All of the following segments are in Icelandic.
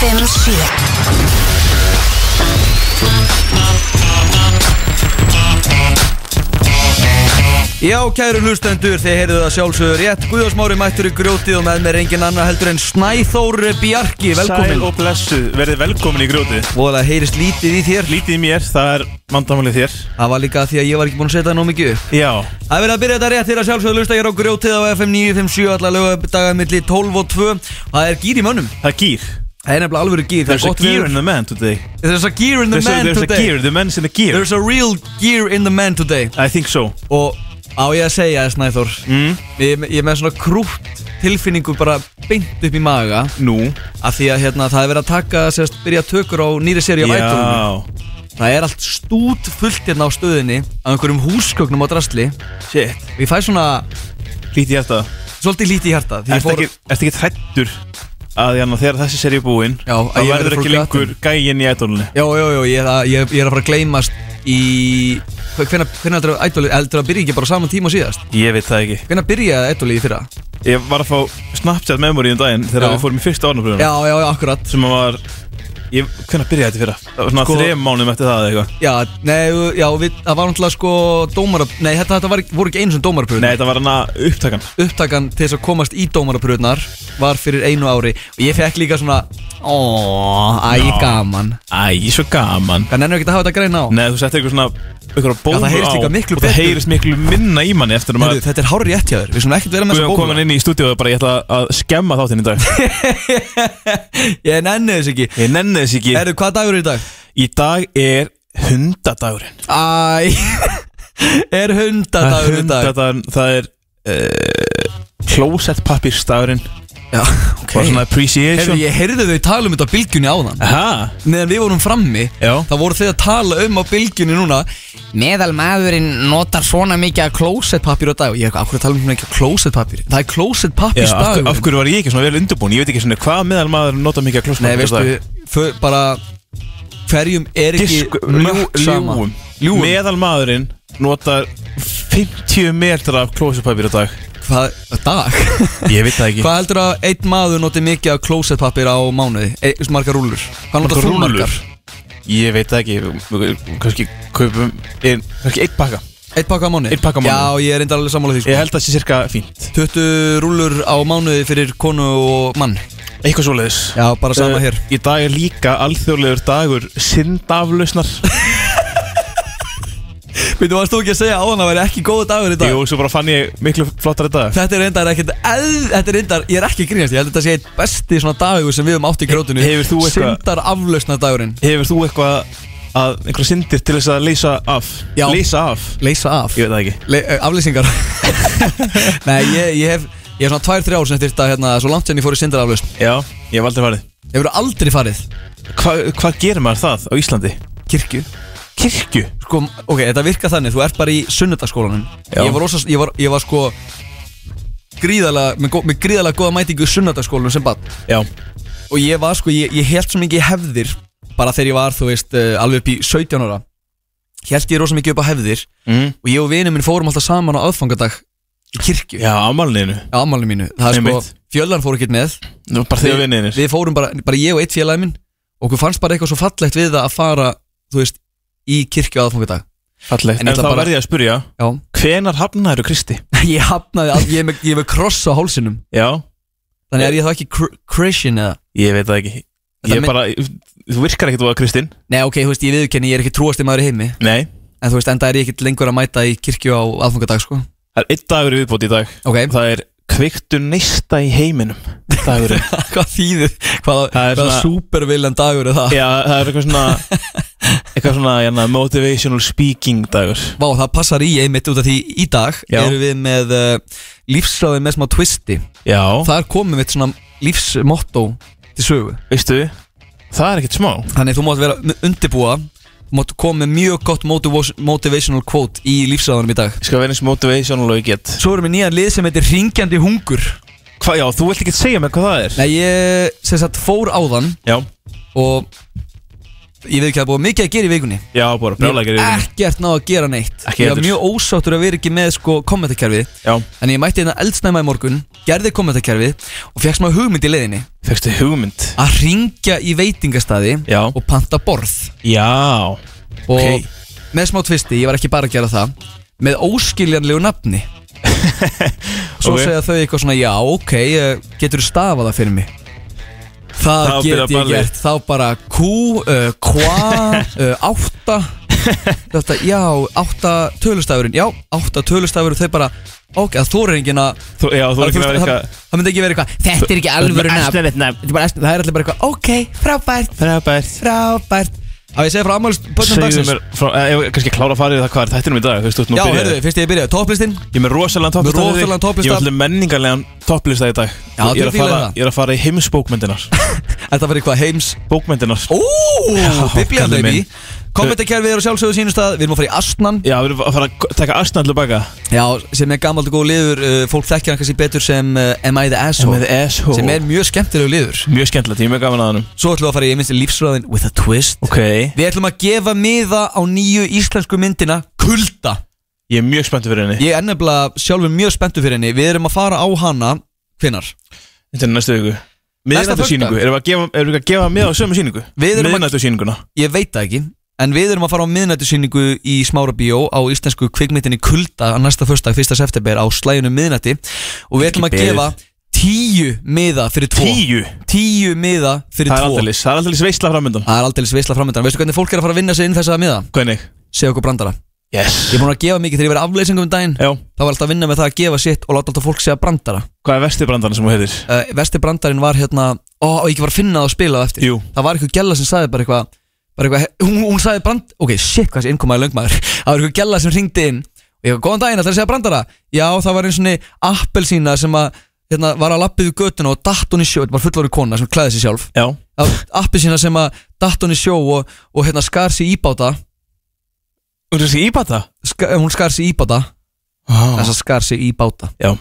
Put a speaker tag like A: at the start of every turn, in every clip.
A: Jens Schiller.
B: Já, kæru hlustendur, þið heyrðu það sjálfsögur rétt Guðjósmári mættur í grjótið og með mér engin annar heldur en Snæþór Bjarki
C: Sæl
B: Velkomin
C: og blessuð, verðið velkomin í grjótið
B: Voðalega heyrist lítið í þér
C: Lítið í mér, það er mandamálið þér
B: Það var líka því að ég var ekki búin að setja það nóg mikið upp
C: Já,
B: Það er verið að byrja þetta rétt þegar sjálfsögur hlusta hér á grjótið á FM 957 alla lögadaga milli 12 og 2 Og það er gýr í mönnum
C: það er gýr
B: Það er nefnilega alvöru gýr, það er
C: There's a
B: gott
C: gear
B: viður
C: in the man today
B: There's a gear in the
C: There's a,
B: man
C: there's a
B: today
C: gear, the man's in the gear
B: There's a real gear in the man today
C: I think so
B: Og á ég að segja þess Snæþór
C: mm.
B: Ég, ég er með svona krútt tilfinningu bara beint upp í maga
C: Nú
B: Af því að hérna, það er verið að taka sérst, byrja tökur á nýri seri á vætunum
C: Já,
B: Það er allt stút fullt hérna á stöðinni af einhverjum húsgögnum á drasli
C: shit
B: og ég fæ svona
C: Lítið hjarta
B: svolítið lítið í hjarta því ég
C: Ertu
B: fór,
C: ekki, ertu ekki trættur að Janna, þegar þessi seri er búin
B: Já, að
C: Það
B: ég verði
C: verður
B: frú
C: ekki lengur gægin í ædolunni
B: Já, já, já, ég er að, ég, ég er að fara að gleymast í Hvernig heldur að ædoli, heldur að byrja ekki bara á sama tíma og síðast?
C: Ég veit það ekki
B: Hvernig byrjaði ædoli í fyrra?
C: Ég var að fá Snapchat memory um daginn þegar
B: Já.
C: við fórum í fyrsta orðnabröðuna
B: Já, já, já, akkurat
C: sem að var ég, hvernig byrjaði þetta fyrra? Það var svona
B: Sko-
C: sko, þrejum mánum eftir það eða eitthvað
B: Já, nei, já, við, það var náttúrulega sko dómara, nei, þetta, þetta var, voru ekki eins og dómarapöðun
C: Nei, þetta var hana upptakan
B: upptakan til þess að komast í dómarapröðnar var fyrir einu ári og ég fekk líka svona Óóóó, æ,
C: Já.
B: gaman
C: Æ, svo gaman
B: Það nennir ekki að hafa þetta grein á
C: Nei, þú settir eitthvað svona eitthvað
B: Já,
C: bólu
B: það heyrist
C: á
B: líka miklu
C: Og það
B: betur.
C: heyrist miklu minna í manni eftir að
B: Heyrðu,
C: maður
B: Þetta er hárið rétt hjá þér, við svona ekkert vera með
C: Guðjón
B: þessa
C: kom hann
B: bólu
C: inn í stúdíu og bara ég ætla að skemma þáttinn í dag
B: Ég nenni þess ekki
C: Ég nenni þess ekki
B: Erðu, hvað dagur er í dag?
C: Í dag er hundadagurinn
B: Æ, er
C: Það er
B: hundadagur í dag
C: hundadagurinn Það er uh, Klósettpappirsdagurinn
B: Já, ok
C: Bara svona
B: Heyrðu,
C: appreciation
B: ég heyrði þau tala um þetta á bylgjunni áðan
C: Aha,
B: Meðan við vorum frammi
C: já
B: þá voru þið að tala um á bylgjunni núna Meðal maðurinn notar svona mikið að klósettpapir á dag Ég er okkur að tala um svona ekki að klósettpapir Það er
C: Já,
B: klósettpapir
C: af, hver-
B: stagur
C: af hverju var ég ekki svona vel undirbúin? Ég veit ekki svona hvað meðal maður nota mikið að klósa
B: Nei, veistu, fö- bara hverjum er ekki
C: Disk, ljú,
B: mörg sama
C: ljúum. ljúum Meðal maðurinn notar 50 metra af klósupapir á dag
B: Hvað, á dag?
C: Ég veit það ekki
B: Hvað heldur að einn maður noti mikið að klósettpapir á mánuði? E, margar rúlur Hvað notar þú margar?
C: Ég veit það ekki Kanski kaupum ein, Kanski einn pakka
B: Eitt pakka á mánuði?
C: Einn pakka á mánuði.
B: Já, ég er enda alveg sammála því
C: Ég
B: sko.
C: held að það sé cirka fínt
B: 20 rúlur á mánuði fyrir konu og mann
C: Eitthvað svoleiðis
B: Já, bara sama
C: Eh,
B: hér
C: Í dag er líka alþjóðlegur dagur Sindaflausnar
B: Býttu, varst þú ekki að segja á hann að vera ekki góð dagur í dag?
C: Jú, svo bara fann ég miklu flottari dag
B: Þetta er reyndar ekkert eð- Þetta er reyndar, ég er ekki að grínast Ég held að þetta sé eitt besti svona dagur sem við höfum átt í grótinu
C: Hefur þú eitthvað-
B: Sindar aflausna dagurinn
C: Hefur þú eitthvað að einhverja syndir til þess að leysa af
B: Já.
C: Leysa af
B: Leysa af
C: Ég veit það ekki
B: Le ö, Aflýsingar Nei, ég, ég hef Ég er svona tvær, þrjár sem þyrta hérna Svo langt sem ég fór í sindar aflausn
C: Já, ég hef aldrei farið
B: Ég verður aldrei farið
C: Hva, Hvað gerir maður það á Íslandi?
B: Kirkju
C: Kirkju
B: Sko, ok, þetta virka þannig Þú ert bara í sunnudagsskólanum
C: Já.
B: ég var, rosa, ég, var, ég var sko Gríðalega, með, gó- með gríðalega góða mætingu í sunnudagsskólanum sem bann
C: Já
B: og ég var sko, ég, ég held svo mikið í hefðir bara þegar ég var, þú veist, uh, alveg upp í 17 ára held ég rosa mikið upp á hefðir
C: mm.
B: og ég og vinið minn fórum alltaf saman á aðfangadag í kirkju,
C: Já, amalninu
B: á ammálinu mínu það er sko,
C: Einmitt.
B: fjöldan fór ekkert með
C: Bara þið og vinninir
B: við fórum bara, bara ég og eitt félagi minn og okkur fannst bara eitthvað svo fallegt við það að fara þú veist, í kirkju á aðfangadag
C: Fallegt
B: En
C: En,
B: ég ætla
C: þá
B: bara-
C: verð ég að spyrja
B: já,
C: Hvenar hafnaður Kristi?
B: ég hafnaði all, ég, er með, ég er með kross á hálsinum
C: Já,
B: þannig er ég þá ekki kr Christian eða
C: ég veit það ekki
B: Þetta
C: Ég
B: mynd-
C: bara, þú virkar ekkert þú að Kristin
B: Nei, ok, þú veist, ég viðurkenni, ég er ekki trúasti maður í heimi
C: Nei
B: En þú veist, enda er ég ekkert lengur að mæta í kirkju á aðfangadag, sko
C: Það er einn dagur í viðbót í dag
B: Ok,
C: Það er kveiktu neista í heiminum Dagur Já,
B: hvað þýðir hvaða,
C: Það er
B: hvaða
C: svona-
B: supervillan dagur er það
C: það er eitthvað svona Eitthvað svona, jana, motivational speaking dagur
B: Vá, það passar í einmitt út af því í dag
C: Já.
B: erum við með uh, lífsráði með smá twisti
C: Já,
B: þar komum við svona lífsmotto til sögu
C: veistu Það er ekkert smá
B: þannig þú mátt vera með- undirbúa þú mátt koma með mjög gott motivos- motivational quote í lífsráðanum í dag
C: Ég skal vera eins motivational og ég get
B: Svo erum við nýjan lið sem heitir Ringjandi hungur
C: Hva, Já, þú vilt ekki segja mér hvað það er
B: Nei, ég sem sagt fór áðan
C: Já,
B: og Ég veit ekki að það er búið mikið að gera í vikunni
C: Já, bara
B: Ég
C: brjálækir
B: hef ekkert náð að gera neitt
C: Ekki
B: Ég var
C: heldur.
B: mjög ósáttur að vera ekki með sko kommentakerfið
C: Já,
B: En ég mætti hérna eldsnæma í morgun Gerði kommentakerfið Og fekk smá hugmynd í leiðinni
C: fegstu hugmynd
B: Að ringja í veitingastæði
C: Já.
B: Og panta borð
C: Já,
B: Og
C: Ok.
B: með smá tvisti, ég var ekki bara að gera það Með óskiljanlegu nafni Svo
C: Ok.
B: segja þau eitthvað svona Já, ok, getur þú stafað það fyrir mig Það
C: Þá
B: get
C: byrjar
B: ég
C: ballið.
B: gert Þá bara Q, uh, Kva, uh, Átta Þetta, já, átta tölustafurinn Já, átta tölustafurinn Þau bara, ok, það þóra enginn að
C: þú, já, þú er ekki að vera
B: það,
C: eitthvað
B: það myndi ekki vera eitthvað Þetta er ekki alvöru nafn Þetta er bara asnalegt. Það er allir bara eitthvað, ok, frábært,
C: Frábært
B: frábært Á ég segja frá ammálspötnum
C: Segðu
B: dagsins
C: mér, frá, eh, ég, kannski klára að fara í það hvað er þættinum í dag Þú veist, þú ert nú
B: Já,
C: að byrja
B: heyrðu, fyrst ég byrjaði, topplistin
C: Ég er með rosalega topplista
B: Með
C: fyrir þig.
B: rosalegan topplista.
C: Ég er allir menningarlegan topplista í dag
B: Já,
C: Ég er að
B: þú fílar
C: fara,
B: það.
C: ég er að fara í heimsbókmyndinar
B: Þetta var eitthvað heims
C: Bókmyndinar
B: Ó,
C: Já,
B: biblían
C: kallinn
B: baby
C: minn.
B: Kommentakerfið er á sjálfsögðu sínustað Við erum að fara í Astnan
C: Já, við erum að fara að taka Arsenal til baka
B: Já, sem er gamalt og góð liður uh, Fólk þekkja hann kannski betur sem uh, Am I the
C: Með
B: Asshole
C: SH
B: Sem er mjög skemmtilegu liður
C: Mjög skemmtilegt, ég er mjög gaman að hannum
B: Svo ætlum við að fara í, ég minnst, lífsræðin With a twist
C: Ok
B: Við ætlum að gefa miða á nýju íslensku myndina Kulda
C: Ég er mjög spenntur fyrir henni
B: Ég er nefnilega sjálfur mjög spenntu fyrir henni Við erum að fara á hana Hvinnar?
C: Þetta er næstu viku Miðnættu síningu, erum við að gefa, erum við að gefa með á sömu síningu?
B: Við erum að-
C: Miðnættu síninguna
B: Ég veit það ekki En við erum að fara á miðnættisýningu í Smára Bíó á íslensku kvikmyndinni Kulda á næsta förstak, 1. september á slæjunu miðnætti og við ætlum að
C: beðið.
B: gefa tíu miða fyrir tvo
C: Tíu
B: Tíu miða fyrir
C: Það er
B: tvo
C: aldeilis, það er aldeilis veistla framöndan
B: Það er aldeilis veisla framöndan Veistu hvernig fólk er að fara að vinna sig inn þessa miða?
C: Hvernig?
B: Segja okkur brandara
C: Yes
B: Ég er búin að gefa mikið þegar ég verið afleysingum um daginn
C: Já,
B: Það var alltaf að vinna með það að gefa sitt og láta alltaf fólk segja brandara
C: hvað er vestið brandarinn sem þú heitir?
B: uh, Vesti brandarinn var hérna Ó, ég ekki var að finna það og spila það eftir
C: Jú.
B: Það var eitthvað gælla sem sagði bara eitthvað bara eitthvað, hún, hún sagði brand Ok, shit, hvað þessi innkomaði löngmaður Það var eitthvað gælla sem ringdi inn Og ég var, góðan daginn, ætlar að segja brandara Já, það var einn svonni appelsína sem að hérna, var að lappið við götuna og datt hún í sjó Þetta var fullorði kona sem klæði sig sjálf
C: Já
B: Appelsína sem að datt hún í sjó og, og hérna skar sig íbáta
C: Þú ert þessi íbata?
B: ska, Hún skar sig íbáta
C: Oh.
B: Þess að skar sig íbáta
C: Já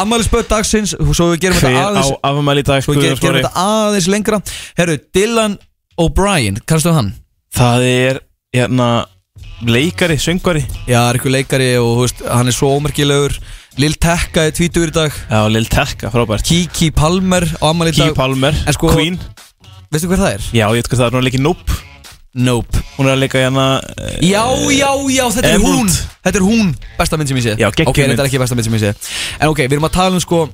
B: Ammælisböð dagsins, svo við gerum
C: Hver
B: þetta
C: á
B: aðeins
C: afmæli í dag
B: Svo ger,
C: Guðjón
B: gerum
C: Smári?
B: við þetta aðeins lengra Herru, Dylan O'Brien, kannstu hann?
C: Það er hérna leikari, söngvari
B: Já, er ykkur leikari og þú veist, hann er svo ómerkilegur Lil Tekka er tvítur í dag
C: Já, Lil Tekka, frábært
B: Kiki Palmer á ammali í
C: Key
B: dag
C: Palmer,
B: En sko-
C: Queen
B: Veistu hver það er?
C: Já, ég veit hvað það er, hún er að leika í Nope
B: Nope
C: Hún er að leika hérna eh,
B: Já, já, já, þetta er
C: Emerald.
B: hún Þetta er hún, besta mynd sem ég sé
C: Já, geggjum
B: Ok,
C: mynd.
B: þetta er ekki besta mynd sem ég sé En ok, við erum að tala um sko að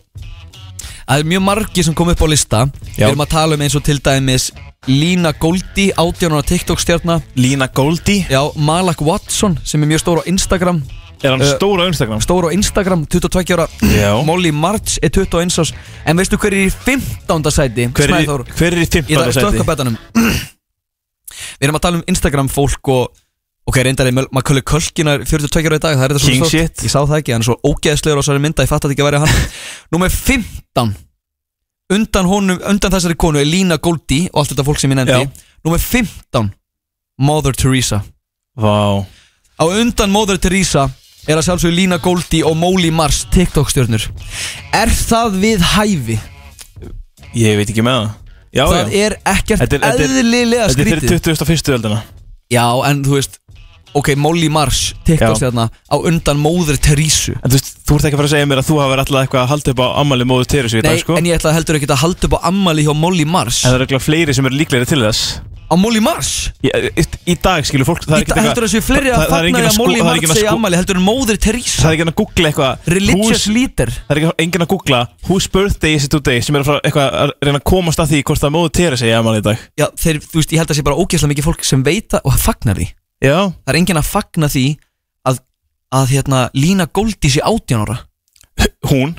B: Það er mjög margi sem kom upp á lista Við
C: Já.
B: erum að tala um eins og til dæmis Lína Goldi, 18 ára TikTok stjárna
C: Lina Goldie
B: Já, Malak Watson sem er mjög stór á Instagram
C: Er hann
B: Eh,
C: stór á Instagram?
B: stór á Instagram, 22 ára
C: Já
B: Molly March er 21 árs En veistu hver er í 15. sæti?
C: Hver er,
B: Snæþór?
C: hver er í
B: Ég ætla
C: 15.
B: að slökka
C: seti?
B: betanum Við erum að tala um Instagram fólk og Ok, reyndar er maður kölur kölkinar 42 ára í dag Það er þetta
C: King
B: svo stórt
C: shit.
B: Ég sá það ekki, hann er svo ógeðslegur á svari mynda Ég fatt að ekki að vera hann Númer 15 Undan, honum, undan þessari konu er Lína Goldi Og allt þetta fólk sem ég nefndi
C: Já.
B: Númer 15 Mother Teresa
C: Vá
B: Á undan Mother Teresa er að sjálfsögðu Lína Goldi og Móli Mars TikTok stjörnur Er það við hæfi?
C: Ég veit ekki með það Já,
B: það
C: já
B: er ekkert
C: Þetta er- þetta er-
B: eðlilega
C: Þetta er
B: skrítið
C: fyrir 21. öldina
B: Já, en þú veist Ok, Móli Mars TikTok
C: Já.
B: stjörna á undan Mother Teresa
C: En þú veist, þú ert ekki að fara að segja mér að þú hafa verið alltaf eitthvað að halda upp á ammali móðu Teresu í
B: Nei,
C: dag, sko
B: en ég ætla heldur ekki að halda upp á ammali hjá Móli Mars
C: En það eru eitthvað fleiri sem eru líklegri til þess
B: Á Móli Mars?
C: Ég, í, í dag skilur fólk, það
B: Í
C: er ekkert
B: dag heldur þessu fleiri að
C: það- það er
B: fagna
C: enginn
B: því að
C: að sko-
B: Móli
C: það er
B: Mars
C: enginn að
B: segja
C: sko-
B: ammali heldur en Móður
C: Það
B: Teresa
C: er ekki hann að googla eitthvað
B: Religious
C: whose-
B: leader
C: Það er ekki enginn að googla Whose birthday is it today sem er að, fara, eitthvað, að reyna að komast að því hvort það móðu Teresi í ammali í dag
B: Já, þeir, þú veist, ég held að sé bara ógeðslega mikið fólk sem veita og fagnar því
C: Já
B: það er enginn að fagna því að, að hérna, Lína Goldi sé 18 ára
C: Hún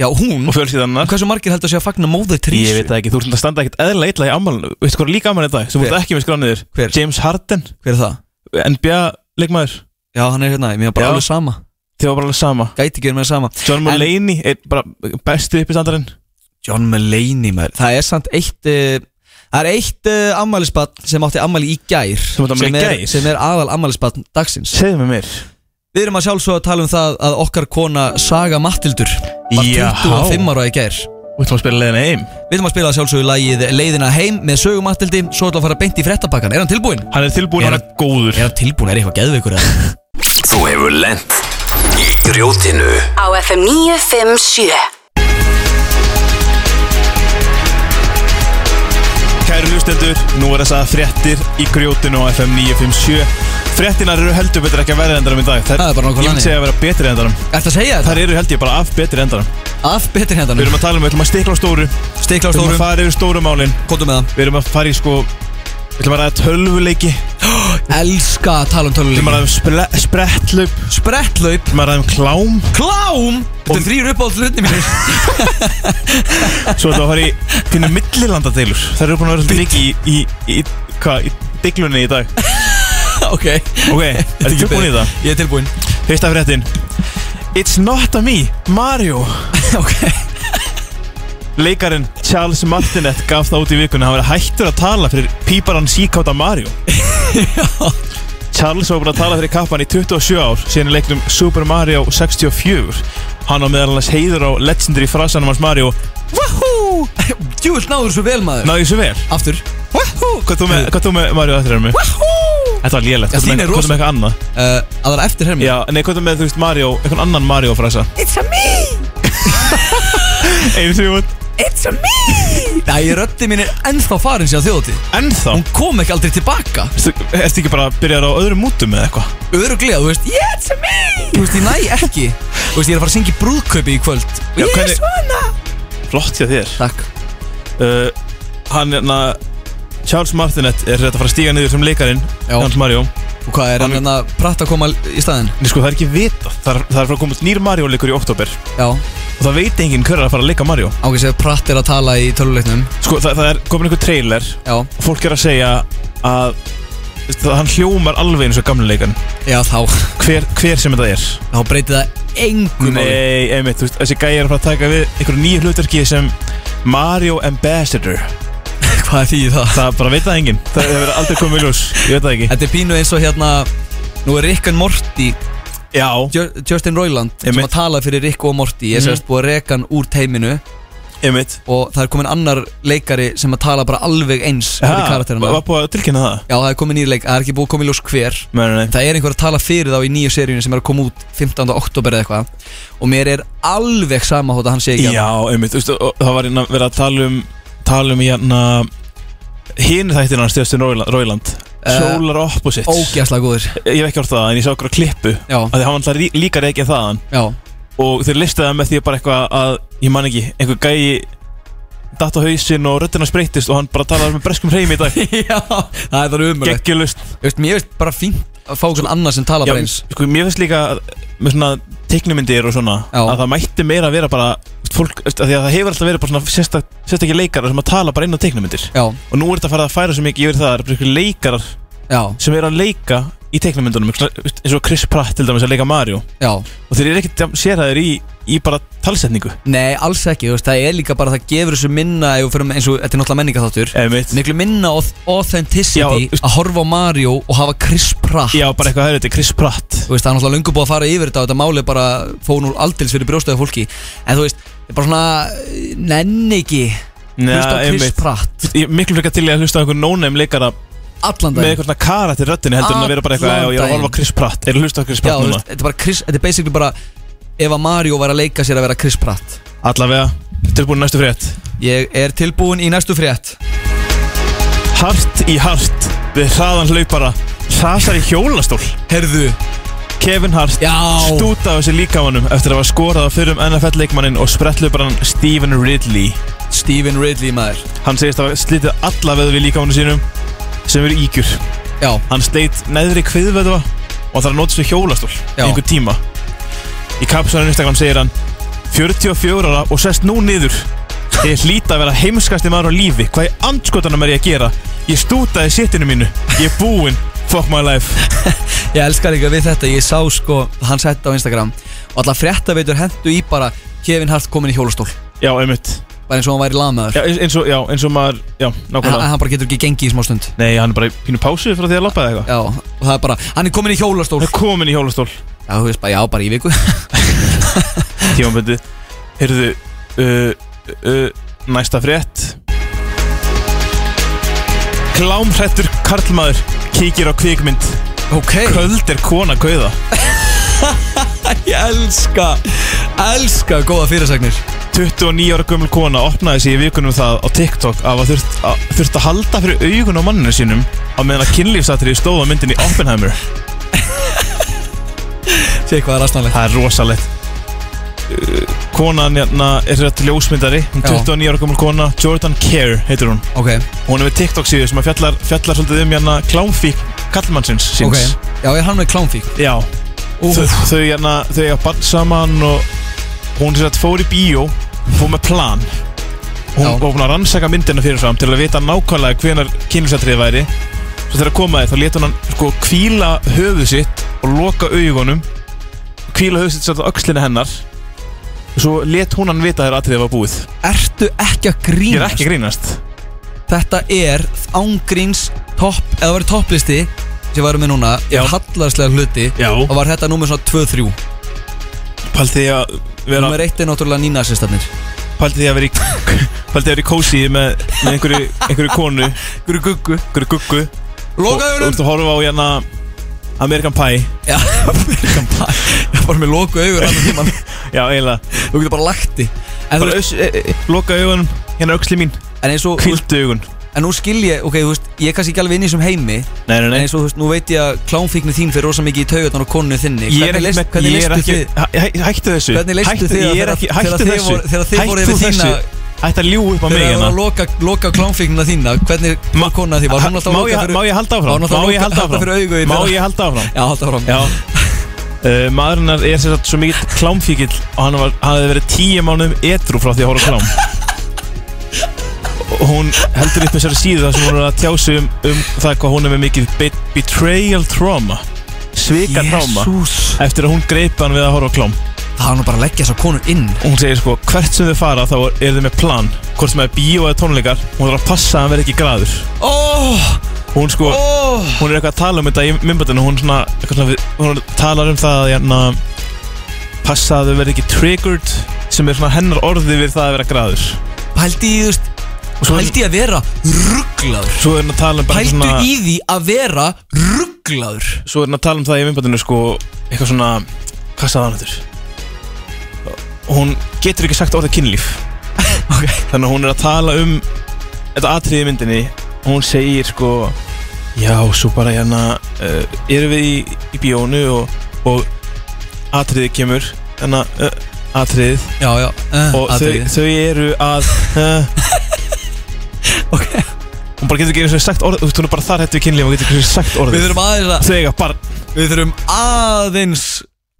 B: Já, hún
C: og fjölskyldannar
B: Hversu margir heldur að sé að fagna móður
C: Ég
B: Trísu?
C: veit það ekki, þú ert að standa ekkert eðla illa í ammali Veistu hvað er líka ammali í dag sem þú
B: Hver?
C: ert ekki með skrániðir
B: Hver?
C: James Harden,
B: Hver er það?
C: NBA leikmaður
B: Já, hann er hérna, mér er bara
C: Já.
B: alveg sama
C: Þið var bara alveg sama
B: Gæti ekki verið með það sama
C: John
B: En-
C: Mulaney er bara bestu uppistandarinn
B: John Mulaney, maður Það er samt eitt uh, Það er eitt uh, ammælisbarn sem átti ammæli í gær
C: Sem átti afmæli í
B: er,
C: gær?
B: Sem er aðal ammælisbarn dagsins
C: Segðu mig mér
B: Við erum að sjálfsög að tala um það að okkar kona Saga Mattildur Var
C: Jaha.
B: 25 ára í gær
C: Þú ætlum að spila leiðina heim
B: Við ætlum að spila að sjálfsögðu lagið Leiðina heim með sögumattildi Svo ætlum við að fara beint í frettapakkan Er hann tilbúinn?
C: Hann er tilbúin,
B: Er
C: hann er góður
B: Er hann tilbúinn? Er eitthvað geðveikur eða?
D: Þú hefur lent í grjótinu
A: á FM 957
C: Kæru hlustendur, nú er þess að fréttir í grjótinu á FM 957 Fréttinar eru heldur betur ekki að verða endarum í dag Þær,
B: Það er bara nákvæmlega
C: Ég myndi
B: þannig.
C: segja að vera betri endarum
B: Ertu að segja þetta?
C: Þær eru heldur bara af betri endarum
B: Af betri hérna,
C: Við
B: hendanum
C: erum að tala um, við ætlum að stikla á stóru
B: Mm. Stikla á
C: Við erum að
B: stórum
C: fara yfir stóru málin
B: Kóttum með
C: Við erum að fara í sko Við ætlum að ræða tölvuleiki Við
B: það Elska að tala um
C: ætlum að
B: töluleik
C: ræða um spre sprettlaup Við
B: Spretthlaup
C: ætlum að ræða um klám
B: Klám Þetta er þrýr uppáhalds hlutin mínir
C: Svo ætlum við að fara í þínu millilandadeilur Þær eru búin að vera svolítið mikið í, í, í, hva, í diglunni í dag
B: Ok
C: Ok, ertu tilbúin í það?
B: Ég er tilbúin
C: Fyrsta fréttin It's not a me, Mario
B: Ok
C: Leikarinn Charles Martinet gaf það út í vikunni að Hann verið hættur að tala fyrir píparan síkáta Mario Charles var búin að tala fyrir kappan í 27 ár síðan í leiknum Super Mario 64 Hann á meðal hans heiður á legendary frasanum hans Mario
B: Wahoo Djúvill náður svo vel maður
C: Náðu þessu vel
B: Aftur Wahoo
C: Hvað þú með, hvað þú með Mario eftir hermi?
B: Wahoo
C: Þetta var lélegt
B: Já,
C: Hvað þú
B: þín
C: með-
B: er
C: hvað þú
B: rosa.
C: með eitthvað annað?
B: Uh, Aðra eftir hermi
C: Já, nei, hvað þú með, þú veist, Mario, einhvern annan Mario frasa
B: It's a me
C: Einu tvífund
B: It's a me Æ, röddi mín er ennþá farin sér á þjóti
C: Ennþá
B: Hún kom ekki aldrei tilbaka
C: Ertu ertu ekki bara að byrja á öðrum mútum eða eitthvað?
B: Öruglega, þú veist Yeah, it's a me Þú veist, ég næ ekki Þú veist, ég er að fara að syngja í brúðkaupi í kvöld Og
C: Já,
B: ég er
C: hvernig-
B: svona
C: Flott hjá þér
B: Takk
C: uh, Hann er Charles Martinet er þetta að fara að stíga niður sem leikarinn
B: Já.
C: Hans Mario
B: Og hvað er hann
C: Hann-
B: hérna pratt að koma í staðinn?
C: En sko það er ekki vitað Það er, það er frá að koma út nýr Mario leikur í oktober
B: Já
C: Og það veit enginn hver er að fara að leika Mario
B: Ángið sér pratt er að tala í töluleiknum
C: Sko það, það er komin einhver trailer
B: Já
C: Og fólk er að segja að það, Hann hljómar alveg eins og gamla leikarinn
B: Já, þá
C: hver, hver sem þetta er
B: Þá breytir það engum máli.
C: Nei, einmitt, þú veist, þessi gæi er að fara að taka við einhverju nýju hlutverki sem Mario Ambassador
B: Hvað er því það?
C: Það bara veit það enginn Það hefur aldrei komið í ljós Ég veit það ekki
B: Þetta er pínu eins og hérna Nú er Rick and Morty
C: Já
B: Ju- Justin Roiland sem
C: Einmitt. Mhm.
B: að tala fyrir Rick og Morty Ég er sérst búið að reka hann úr teiminu
C: Einmitt
B: og það er komin annar leikari sem að tala bara alveg eins fyrir karakterina
C: Var búið að tilkynna það?
B: Já, það er komin nýr leik, það er ekki búið að koma í ljós hver
C: Nei, nei, nei
B: Það er einhver að tala fyrir þá í nýju seríunni sem er að koma út 15. oktober eða eitthvað og mér er alveg sama hótt að hann sé ekki hérna.
C: Já, einmitt Þú veist, og það var hérna verið að tala um Tala um hérna Hinn þættina hans Justin Roiland- Roiland
B: Eh,
C: Solar Opposites
B: Ógæslega góður
C: Ég hef ekki orðað það En ég sá okkur að klippu
B: Já,
C: Af Því hann var alltaf lí- líka reikið þaðan
B: já,
C: Og þeir listaði það með því bara eitthvað að Ég man ekki Einhver gæi Datt á hausinn og röddina spreytist Og hann bara talaði með breskum hreim í dag
B: já Það er það umulegt
C: Geggjulust
B: Veist, Mér veist bara fínt að fá einhvern annar sem tala
C: Já,
B: bara eins
C: sko, mér finnst líka að- með svona teiknumyndir og svona
B: Já.
C: að það mætti meira að vera bara fólk, veist, af því að það hefur alltaf verið bara svona sérstak, sérstakir leikarar sem að tala bara inn á teiknumyndir
B: Já,
C: og nú er þetta að fara að færa svo mikið yfir það það er bara einhverjir leikarar
B: já,
C: sem eru að leika í teiknumyndunum svona, veist, eins og Chris Pratt til dæmis að leika Mario
B: já
C: og þeir eru ekkert sérhæðir í, í bara talsetningu
B: Nei, alls ekki, þú veist, það er líka bara það gefur þessu minna ef við förum eins og þetta er náttúrulega menningaþáttur
C: eða mitt
B: miklu minna auth- authenticity
C: Já,
B: að horfa á Mario og hafa Chris Pratt
C: Já, bara eitthvað að höfðu þetta, er Chris Pratt
B: þú veist, það er náttúrulega löngu búið að fara yfir þetta og þetta máli er bara fóð nú aldils fyrir brjóstaði fólki en þú veist, ég bara svona eh, nenni ekki,
C: Nei,
B: hlusta á Chris
C: einmitt.
B: Pratt
C: Ég er miklu frekar til í að hlusta á einhver no-name leikara
B: allan
C: með
B: daginn
C: eitthvað svona karat í röddinu heldur en að vera bara eitthvað "Já, ég er að
B: Allan
C: horfa á Chris Pratt, er að hlusta á Chris
B: Já,
C: Pratt
B: þú
C: núna
B: veist, þetta er bara Chris, þetta er basically bara ef að Mario væri að leika sér að vera Chris Pratt
C: Allavega, tilbúin í næstu frétt
B: ég er tilbúin í næstu frétt
C: Hart í hart Við hraðan hlaupara Hrasar í hjólastól
B: herðu,
C: Kevin Hart
B: já
C: Stúta á þessi líkamanum eftir að hafa skorað á fyrrum NFL-leikmannin og sprettluparan Stephen Ridley
B: Stephen Ridley maður,
C: Hann segist að slítið alla veðu við líkamannu sínum sem eru ígjur
B: já,
C: Hann sleit neðri kviðveðva og þarf að nota þessu hjólastól í
B: Já.
C: einhver tíma Í kapsanum Instagram segir hann 44 ára og sest nú niður Ég hlýta að vera heimskasti maður á lífi Hvað í andskotanum er ég að gera? Ég stútaði sittinu mínu Ég er búinn Fuck my life
B: ég elskar ekki við þetta ég sá sko, hann sett á Instagram og alla fréttaveitur hendu í bara Kevin Hart komin í hjólastól
C: Já, einmitt
B: bara eins og hann væri lamaður
C: já, eins- eins, og, já, eins og maður, já,
B: en
C: nákvæmlega
B: hann bara getur ekki gengið í smá stund
C: Nei, hann er bara í pínu pásu frá því að lappa eða eitthvað
B: Já, og það er bara, hann er komin í hjólastól
C: Hann er komin í hjólastól
B: Já, þú veist bara, já, bara í viku
C: Tímaböndi Heyrðu, uh, uh, Næsta frétt Klámhrættur karlmaður kíkir á kvikmynd
B: Ok
C: Köld er kona kauða
B: Ég elska Elska góða fyrirsagnir
C: 29 ára gömul kona opnaði sig í vikunum um það á TikTok af að þurft að, þurft að halda fyrir augun á manninu sínum á meðan að kynlífsatrið stóð á myndinni Oppenheimer
B: Sér hvað er aðstæðanlegt
C: Það er rosalegt Uh, Konan hérna er rétt ljósmyndari Hún
B: Já.
C: 29 ára gömul kona Jordan Care heitir hún
B: Ok,
C: Hún er með TikTok síðu sem að fjallar, fjallar svolítið um hérna klámfík kallmannsins síns
B: ok Já, er hann með klámfík
C: Já Þau, þau hérna, þau er bann saman og hún sér að fór í bíó fór með plan hún
B: Já.
C: var búin að rannsaka myndina fyrirfram til að vita nákvæmlega hvenar kynlífsatrið væri svo þegar komaði þá leta hún hann sko kvíla höfuð sitt og loka augunum kvíla höfuð sitt satt á öxlina hennar og svo let hún hann vita þegar atriðið var búið
B: Ertu ekki að
C: ég er
B: grínast?
C: ekki að grínast
B: Þetta er ángríns topp Eða það var topplisti sem varum við núna
C: Já.
B: Já Hallarslega hluti
C: Já.
B: Og var þetta númer svona 2-3
C: pælt því að vera
B: Númer 1 er náttúrulega nínasistarnir
C: pælti því að vera í pælti því að vera í kósi með, með einhverju, einhverju konu
B: Guru guggu
C: einhverju guggu og þú
B: Lokaðurum
C: ert að horfa á hérna American Pie
B: Já, ég var með loku augur allan tíman
C: já eiginlega
B: Þú getur bara eh, lagt í En, þú
C: bara
B: veist,
C: öss, e, e, loka augunum hérna auksli mín
B: en eins og,
C: kvildu augun
B: en nú skil ég, ok, þú veist, ég er kannski ekki alveg inn í þessum heimi
C: nei nei
B: En
C: nei
B: eins og þú veist, nú veit ég að klámfíkni þín fyrir rosa mikið í taugarnar og konunni þinni
C: Ég
B: Hvernig
C: er ekki
B: leist-
C: með,
B: hvernig
C: ég er
B: leistu
C: ekki,
B: þið?
C: hæ- hæ- hættu þessu
B: Hvernig leistu
C: Hættu-
B: þið að
C: ég er
B: þegar-
C: ekki-
B: þegar
C: Hættu
B: þið
C: þessu
B: voru- þegar þið voru
C: Hættu
B: yfir
C: þessu
B: þína-
C: Hættu að ljú upp á mig
B: Þegar það var að
C: hérna
B: loka, loka klámfíknina þína, hvernig
C: Ma-
B: var konan því? Var hún alltaf
C: Má
B: að loka
C: ég-
B: fyrir
C: Má ég halda
B: Var hún alltaf
C: áfram?
B: að
C: Má ég
B: loka-
C: halda
B: halda fyrir augu hérna? í
C: áfram? Má
B: þeirra?
C: ég halda áfram?
B: Já, halda fram
C: Já uh, Maðurinn er sem sagt svo mikill klámfíkil og hann var, hann hafði verið tíu mánuðum edru frá því að horfa á klám og hún heldur upp þessari síðu þar sem hún er að tjá sig um, um það hvað hún er með mikið be betrayal trauma svika trauma
B: Jésús
C: eftir að hún greipa hann við að horfa á klám
B: Það var nú bara að leggja þessar konur inn
C: og hún segir sko hvert sem þau fara þá er þau með plan hvort sem það er bíó eða tónleikar hún þarf að passa að hann verði ekki graður
B: Óh,
C: hún sko
B: óh
C: hún er eitthvað að tala um þetta í myndbandinu hún, svona, eitthvað svona, við- hún talar um það að hérna, passa að þau verði ekki triggered sem er svona hennar orði við það að vera graður
B: Pældi í, þú veist,
C: og svo,
B: pældi í að vera rugglaður
C: svo er hann að tala um bara
B: Pældu
C: svona,
B: í því að vera rugglaður
C: svo er hann að tala um það í myndbandinu sko, eitthvað svona hvað sagði hann þetta hún getur ekki sagt orðið kynlíf þannig að hún er að tala um þetta atriði í myndinni og hún segir sko já, svo bara hérna uh, erum við í, í bíónu og, og atriðið kemur þannig að uh, atriðið
B: Já, já, uh,
C: og þau, þau eru að uh,
B: Ok.
C: hún bara getur ekki eins og sagt orðið þú veist, hún er bara þar hættu við kynlíf og getur ekki einu sinni sagt
B: Við
C: orðið
B: þurfum aðeins að
C: þau eiga barn,
B: Við þurfum aðeins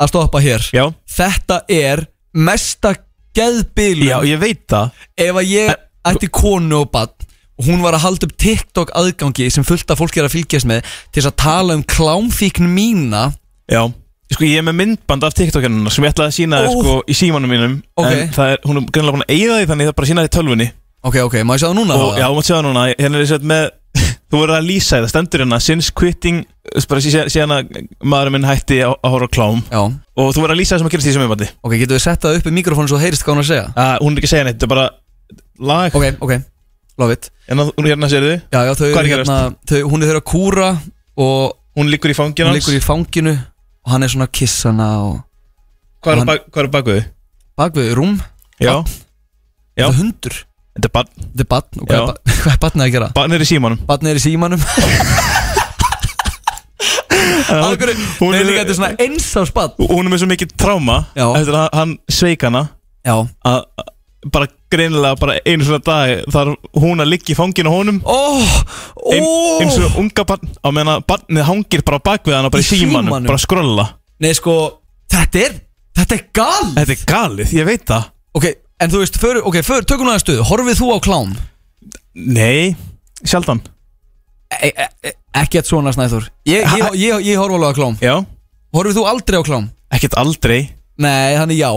B: að stoppa hér
C: já,
B: Þetta er mesta
C: já,
B: geðbílum
C: ég veit það
B: Ef að ég
C: En-
B: ætti konu og bann og hún var að halda upp TikTok aðgangi sem fullt af fólki er að fylgjast með til þess að tala um klámfíkn mína
C: Já Sko ég er með myndband af TikTok hennar sem ég ætlaði að sína þér
B: Ó.
C: sko í símanum mínum
B: Ok.
C: En það er, hún er greinlega búin að eyða því þannig það er bara að sína þér í tölvunni
B: Ok, ok, má ég sjá það núna?
C: Og
B: þá?
C: já, þú mátt sjá það núna, hérna er þess að með Þú voru að lýsa því, það stendur hérna Since quitting, þú veist bara sí- síðan að maðurinn minn hætti að að horfa á klám
B: já
C: Og þú voru að lýsa það sem að gerast í þessum myndbandi
B: Ok, getur við sett það upp í mikrofónu svo það heyrist hvað hún er að segja?
C: uh, Hún er ekki að segja neitt, þetta er bara lag
B: Ok, ok, love it
C: En að- hún hérna sér þið,
B: Já, já, þau
C: Hvað er
B: eru
C: að
B: hérna, þau, hún er þeirra að kúra og
C: hún liggur í fangin
B: hún
C: hans
B: liggur í fanginu og hann er svona að kissa hana og
C: Hvað er
B: hann-
C: á bak- hvað er á baku þið?
B: bakvið rúm,
C: Já, Já.
B: þetta er hundur
C: þetta er barn,
B: þetta er batn og hvað
C: Já.
B: er, ba hvað er batnið að gera?
C: barn er í símanum
B: Batnið er í símanum Akkur,
C: hún
B: hún
C: er-
B: er líka þetta er svona einsás batn
C: Hún er með svo mikið tráma
B: Já.
C: eftir að hann sveik hana
B: Já,
C: að að bara greinilega bara einu svona dag þar hún að liggja í fanginu á honum
B: ó, ó
C: ein, eins og unga barn á meðan að barnið hangir bara á bak við hann og bara í
B: Í
C: símanum,
B: símanum?
C: bara að skrolla
B: Nei sko, þetta er, þetta er gal
C: Þetta er galið, ég veit það
B: Ok, en þú veist, för, ok, för, tökum náða stuð Horfið þú á klám?
C: Nei, sjaldan
B: E e e ekkert svona snæður Ég, ég, ég, ég, ég horf alveg á klám
C: Já,
B: Horfið þú aldrei á klám?
C: ekkert aldrei,
B: Nei, þannig já,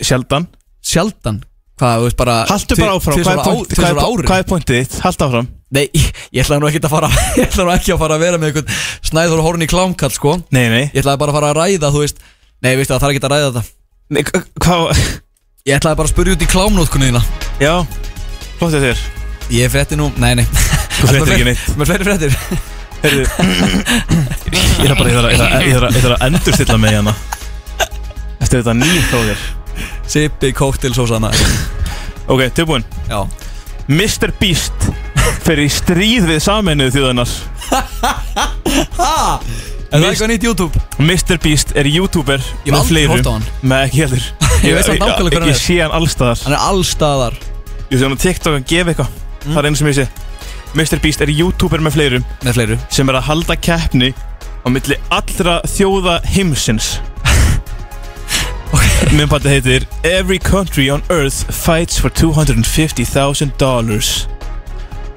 C: sjaldan
B: sjaldan Hvað, þú veist bara
C: Haltu bara áfram, hvað er, point,
B: Tvisvar
C: hvað, er,
B: á
C: point-
B: ári
C: hvað er pointið þitt? Haltu áfram
B: Nei, ég ég ætlaði nú ekki að fara Ég ætlaði nú ekki að fara að vera með einhvern Snæður horn í klámkall, sko
C: Nei, nei,
B: Ég ætlaði bara að fara að ræða, þú veist Nei, veistu það, það er ekki að ræða þetta
C: nei k- hvað
B: Ég ætlaði bara að spyrja út í klámnótkunni þína
C: Já, flott þetta er
B: Ég frétti nú, nei, nei Þú
C: fréttir ekki neitt.
B: Mér fleiri fréttir
C: Heyrðu, Ég þarf bara, ég þarf að- ég þarf að- ég þarf að- ég þarf að endurstilla mig hérna Eftir þetta nýjum þóðir
B: Sipi, kóktil, sósana
C: Ok, tilbúin
B: Já
C: Mr. Beast fer í stríð við sameinuðu þjóðanar
B: Er það
C: Mist-
B: eitthvað nýtt YouTube?
C: Mr. Beast er youtuber
B: Ég hef
C: með
B: aldrei
C: fleirum
B: horft á hann.
C: Nei, ekki heldur
B: Ég veist samt nákvæmlega hver hann er.
C: Ég, ég sé hann allstaðar
B: Hann er allstaðar
C: Ég sé hann á TikTok að gefa eitthvað
B: Mm.
C: Það er einu sem ég sé Mr. Beast er youtuber með fleirum
B: Með fleiru
C: sem er að halda keppni á milli allra þjóða heimsins okay. Minn patti heitir Every country on earth fights for 250.000 dollars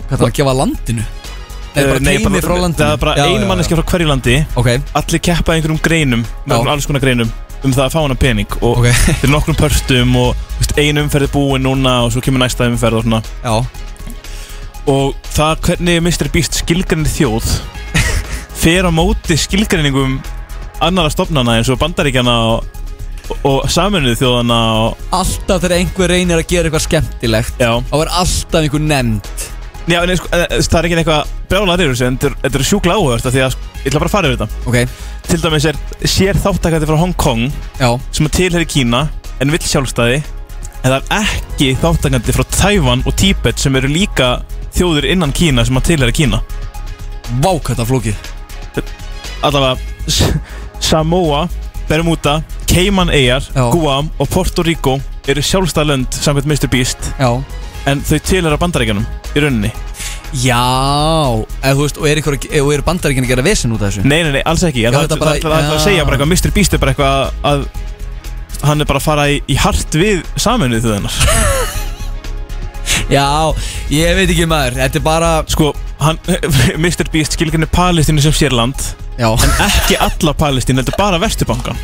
B: Hvað það að gefa landinu? Eh, Nei, bara teimi frá landinu
C: Það er bara
B: Já, já,
C: einu manneski frá hverju landi
B: já. Ok,
C: allir keppa í einhverjum greinum
B: Já.
C: með alls konar greinum um það að fá hana pening og
B: Ok.
C: þeir eru nokkrum pörstum og þú veist, ein umferð er búin núna og svo kemur næsta umferð og svona
B: já
C: og það hvernig Mr. Beast skilgrinir þjóð fer á móti skilgriningum annara stofnana eins og bandaríkjana og, og saminuð þjóðana og,
B: Alltaf þegar einhver reynir að gera eitthvað skemmtilegt
C: já.
B: Þá er alltaf einhver nefnd
C: Já, en, sko, eh, það er ekki eitthvað brjálar yfir þessu en þetta er- þetta er sjúkla áhugast því að sko, ég ætla bara að fara yfir þetta
B: Ok,
C: til dæmis er sér þáttakandi frá Hong Kong
B: já
C: sem að tilheri Kína en vill sjálfstæði en það er ekki þáttakandi frá Tævan og Tíbet sem eru líka þjóður innan Kína sem að tilheri Kína
B: Vá, hvað það er flókið
C: allavega S- Samoa, Bermuda, Cayman Eyjar,
B: Já.
C: Guam og Puerto Rico eru sjálfstæð lönd samkvæmt Mr. Beast
B: Já
C: en þau tilhera bandaríkjanum í rauninni
B: Já, eða þú veist, og er, einhver, og er bandaríkinn að gera vesen út af þessu?
C: Nei, nei, nei, alls ekki En
B: Já,
C: það
B: þetta
C: það-
B: bara-
C: það- það- það
B: já.
C: að segja bara eitthvað Mr. Beast er bara eitthvað að hann er bara að fara í, í hart við saminuð þauðanar
B: Já, ég veit ekki maður, þetta er bara
C: Sko, hann, Mr. Beast skilgrinni Palestínu sem sérland
B: Já,
C: ekki alla Palestín, heldur bara Vesturbankan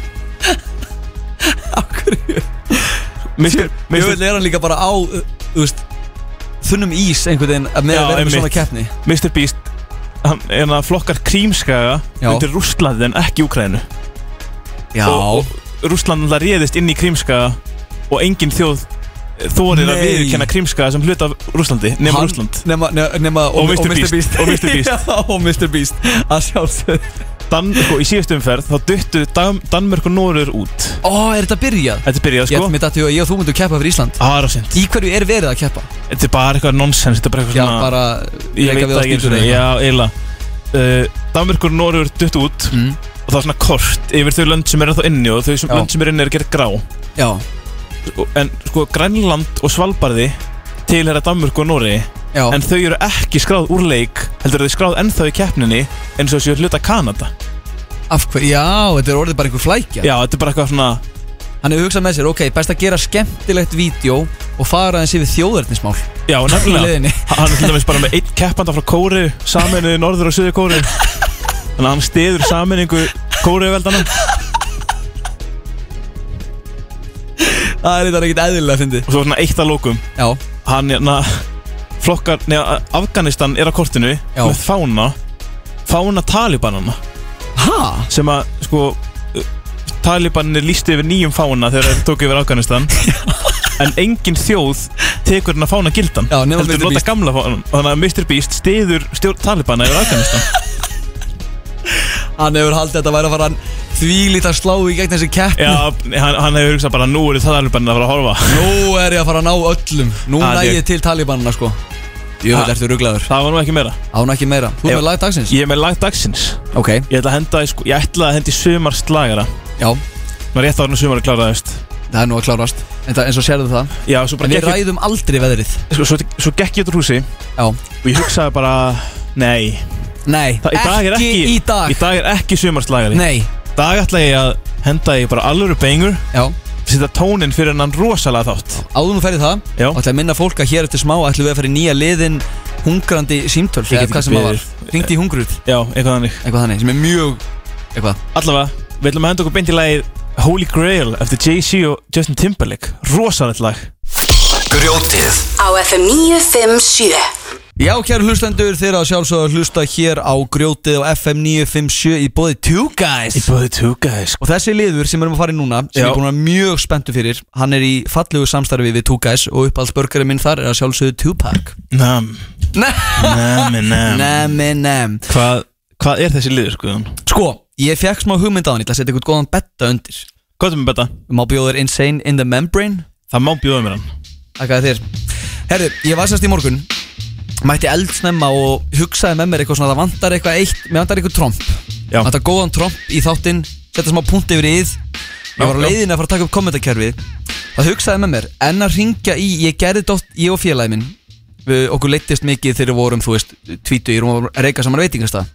C: Akkurju
B: ég veit, er hann líka bara á, uh, þú veist, þunnum ís einhvern veginn að með
C: Já,
B: að vera með
C: einmitt.
B: svona keppni
C: Mr. Beast hann, hann flokkar krímskaga
B: Já.
C: undir Rússlandi en ekki Úkrænu
B: Já,
C: og, og Rússlandi alltaf réðist inn í krímskaga og engin þjóð þorir að
B: Nei.
C: viðurkenna krímskaga sem hluta af Rússlandi nema
B: hann-
C: Rússland
B: nema, nema, nema,
C: Og Mr. Beast. Og Mr. Beast.
B: Já, og Mr. Beast, að sjálfsögðu
C: Dan, sko, í síðustu umferð þá duttu Dan, Danmörk og Norur út
B: Ó, er þetta byrjað?
C: Þetta byrjaði
B: Ég
C: sko
B: ætti mér dættu að ég og þú myndum keppa fyrir Ísland
C: Arasint
B: Í hverju er verið að keppa?
C: Þetta er bara eitthvað nonsens Þetta er bara eitthvað
B: Já,
C: svona
B: bara
C: Ég veit
B: reka við á
C: það ekki eins og
B: skýturinn
C: það Já, eiginlega uh, Danmörk og Norur duttu út
B: Mm.
C: og það er svona kort yfir þau lönd sem eru þá inni og þau sem,
B: Já.
C: lönd sem eru inni eru gerð grá
B: Já,
C: Og- en sko Grænland og Svalbarði tilhera Danmörk og Nóri
B: já,
C: en þau eru ekki skráð úr leik heldur eru þau skráð ennþá í keppninni eins og þau séu hluta Kanada
B: af hverju, já, þetta er orðið bara einhver flækja
C: já, þetta er bara eitthvað svona
B: Hann hefur hugsað með sér, ok, best að gera skemmtilegt vídeo og fara aðeins yfir þjóðverðnismál
C: já,
B: Í leiðinni.
C: nefnilega hann er til dæmis bara með einn keppanda frá Kóru saminuði Norður og Suður Kóru þannig að hann stiður saminingu Kóruveldana og
B: Það er þetta ekkert eðlilega að fyndi
C: svo svona eitt að lókum
B: Já,
C: hann na, flokkar, neða Afganistan er á kortinu
B: Já.
C: með fána fána Talibanana
B: ha?
C: sem að sko uh, Talibanir lísti yfir nýjum fána þegar þeir tók yfir Afganistan en engin þjóð tekur hann að fána gildan
B: Já, nema Mr.
C: heldur nota
B: Beast.
C: gamla fánan þannig að Mr. Beast stiður stjórn Talibana yfir Afganistan
B: Hann hefur haldið að þetta væri að fara hann þvílít að slá í gegn þessi keppni
C: Já, hann, hann hefur hugsað bara nú eru Talibanir að fara að horfa
B: Nú er ég að fara að ná öllum Nú
C: Ah,
B: næ
C: ég-
B: ég til talibanina sko Jú,
C: Ah.
B: þetta ertu ruglaður
C: það var nú ekki meira
B: Án ekki meira Þú
C: Ef-
B: er með lag dagsins
C: ég er með lag dagsins
B: Ok,
C: ég ætla að henda í sko, ég ætla að henda í sumarslagara
B: já,
C: maður rétt árið sumar að klára það veist
B: það er nú að klárast En það, eins og sérðu það
C: já, svo bara
B: En við
C: gekk ég,
B: ræðum aldrei veðrið
C: sko, svo, svo gekk ég út úr húsi
B: Já
C: og ég hugsaði bara nei,
B: Nei,
C: það, í dag er ekki
B: í dag
C: í dag er ekki sumarslagari
B: Nei,
C: dag ætla ég að henda ég bara alvöru bengur
B: já
C: setja tóninn fyrir hennan rosalega þátt
B: Áðum þú ferði það
C: Já.
B: Og ætla að minna fólk að hér eftir smá ætlum við að fara í nýja liðin hungrandi símtöl
C: Ég get
B: eða
C: ekki
B: hvað sem það var
C: beðið.
B: Hringdi í hungrut
C: já, eitthvað þannig
B: Eitthvað þannig Sem er mjög Eitthvað
C: allavega, við ætlum að henda okkur beint í lagið Holy Grail eftir Jay-Z og Justin Timberlake rosalegt lag
A: Grjótið
E: á FM 957
B: Já, kæru hlustendur, þeir að sjálfsögðu að hlusta hér á grjótið á FM 957 í bóði Two Guys
F: bóði tuga þess
B: Og þessi liður sem við erum að fara í núna, sem
F: Já.
B: ég er búin að vera mjög spenntu fyrir Hann er í fallegu samstarfi við Two Guys og uppáhaldsbörgari minn þar er að sjálfsögðu Tupac
F: Nam,
B: Nei,
F: nam,
C: Mm.
F: nam
B: nei, nei
F: Hvað, hvað er þessi liður, Guðun?
B: Sko, ég fekk smá hugmynd á hann, ég ætla að setja eitthvað góðan betta undir
F: Hvað er með betta?
B: Má bjóður Insane in the Membrane
F: Það má bjóða mér hann
B: Þakka þér Herðu, ég var sérst í morgun Mætti eldsnemma og hugsaði með mér eitthvað svona Það vantar eitthvað eitt, mér vantar eitthvað tromp
F: Já.
B: Vantar góðan tromp í þáttinn Setja smá punkt yfir íð Ég
F: Já,
B: var á
F: já.
B: leiðin að fara að taka upp kommentarkerfið Það hugsaði með mér En að ringja í, ég gerði dótt, ég og félagi minn við, Okkur leittist mikið þegar við vorum, þú veist, tvítugir og vorum að reyka saman veitingasta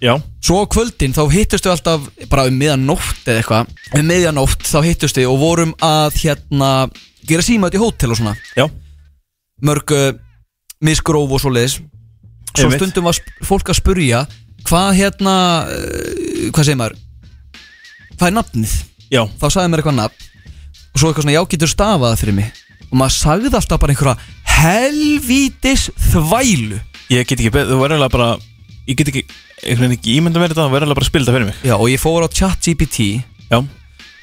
F: Já,
B: Svo á kvöldin þá hittustu við alltaf bara um miðanótt eða eitthvað Um miðanótt þá hittustu og vorum að hérna gera símaðt í hótel og svona
F: já,
B: mörg uh, misgróf og svoleiðis svo
F: Einmitt.
B: stundum var sp- fólk að spurja hvað hérna uh, hvað segir maður hvað er nafnið
F: já
B: þá sagði mér eitthvað nafn og svo eitthvað svona já getur stafað það fyrir mig og maður sagði alltaf bara einhverja helvítis þvælu
F: Ég get ekki, be- þú verður alveg bara Ég get ekki, einhvern veginn ekki ímynda mér þetta Þú verður alveg bara að spila þetta fyrir mig
B: já og ég fór á ChatGPT
F: Já,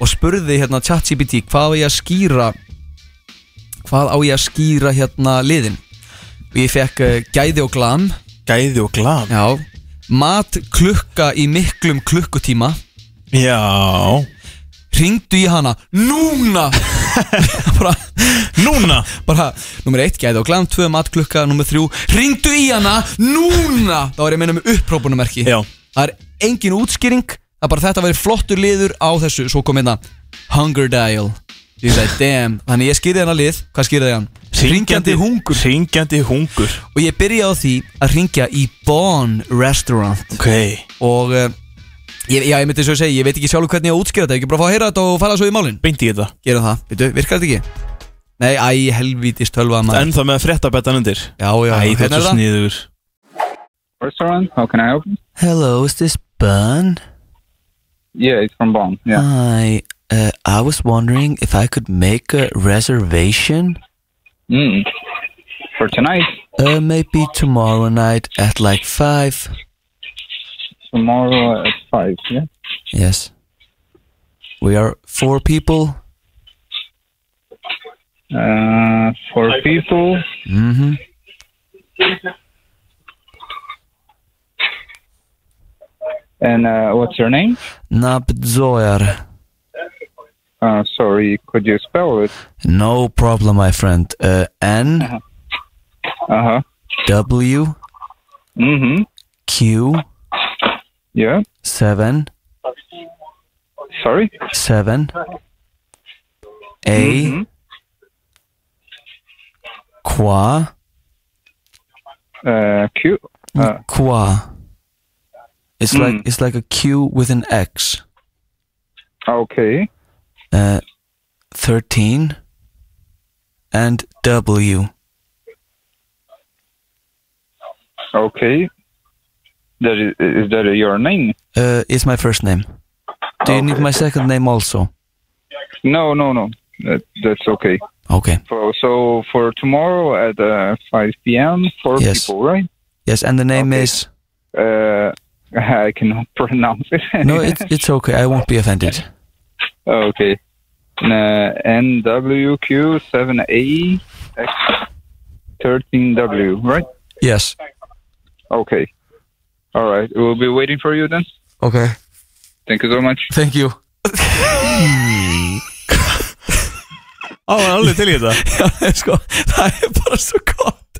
B: og spurði hérna ChatGPT hvað á ég að skýra hvað á ég að skýra hérna liðin og ég fekk uh, gæði og glam
F: gæði og glam
B: Já Mat klukka í miklum klukkutíma
F: Já,
B: Ringdu í hana Núna bara,
F: núna
B: bara Númer eitt gæði og glam Tvö mat klukka Númer þrjú Ringdu í hana Núna Þá er ég að meina með upprópunumerki
F: Já.
B: Það er engin útskýring Það er bara þetta að vera flottur liður á þessu Svo kom hérna Hunger dial Ég sagði damn Þannig ég skýrði hana lið Hvað skýrði hann? Ringjandi hungur
F: Ringjandi hungur
B: Og ég byrjaði á því að ringja í Bon Restaurant
F: Ok
B: og uh, ég, já, ég myndi svo að segja, ég veit ekki sjálfur hvernig ég á að útskýra þetta, ég ekki bara að fá að heyra þetta og fara svo í málin
F: Beinti ég þetta
B: Gerum það, veitu, virkar þetta ekki? Nei, æ, helvítist tölva maður
F: Ennþá með að frétta betan undir
B: Já, já,
F: Æ, þú ert
B: hérna er
F: svo
B: það
F: sniður
G: restaurant. How can I help you?
B: Hello, is this Bun?
G: Yeah, it's from Bonn. Yeah.
B: Uh-huh. Hi, uh, I was wondering if I could make a reservation
G: Mm. For tonight,
B: uh, maybe tomorrow night at like 5
G: tomorrow at five. Yeah.
B: Yes We are four people
G: Uh, for people,
B: Mm-hmm
G: and uh, what's your name?
B: Nabzoyar
G: Uh, sorry, could you spell it?
B: No problem, my friend uh, N
G: Uh huh.
B: W
G: Mm hmm.
B: Q
G: Yeah.
B: seven
G: Sorry.
B: seven A
G: Mhm.
B: qua
G: Uh, Q. Uh,
B: qua. It's like
G: Mm.
B: it's like a Q with an X.
G: okay.
B: Uh, thirteen and W.
G: Okay. That is, is that your name?
B: Uh, is my first name. Do you need
G: Okay.
B: my second name also?
G: No, no, no. That, that's okay.
B: Okay.
G: So, so for tomorrow at uh, 5 p.m. for
B: Yes.
G: people, right?
B: Yes, and the name
G: Okay.
B: is.
G: Uh, I cannot pronounce it.
B: No, it's it's okay. I won't be offended.
G: Okay. Uh, NWQ7AX13W, right?
B: Yes.
G: Okay. All right. We'll be waiting for you then.
B: Okay.
G: Thank you so much.
B: Thank you.
F: Á, hann er alveg til í þetta
B: Já, sko, það er bara svo gott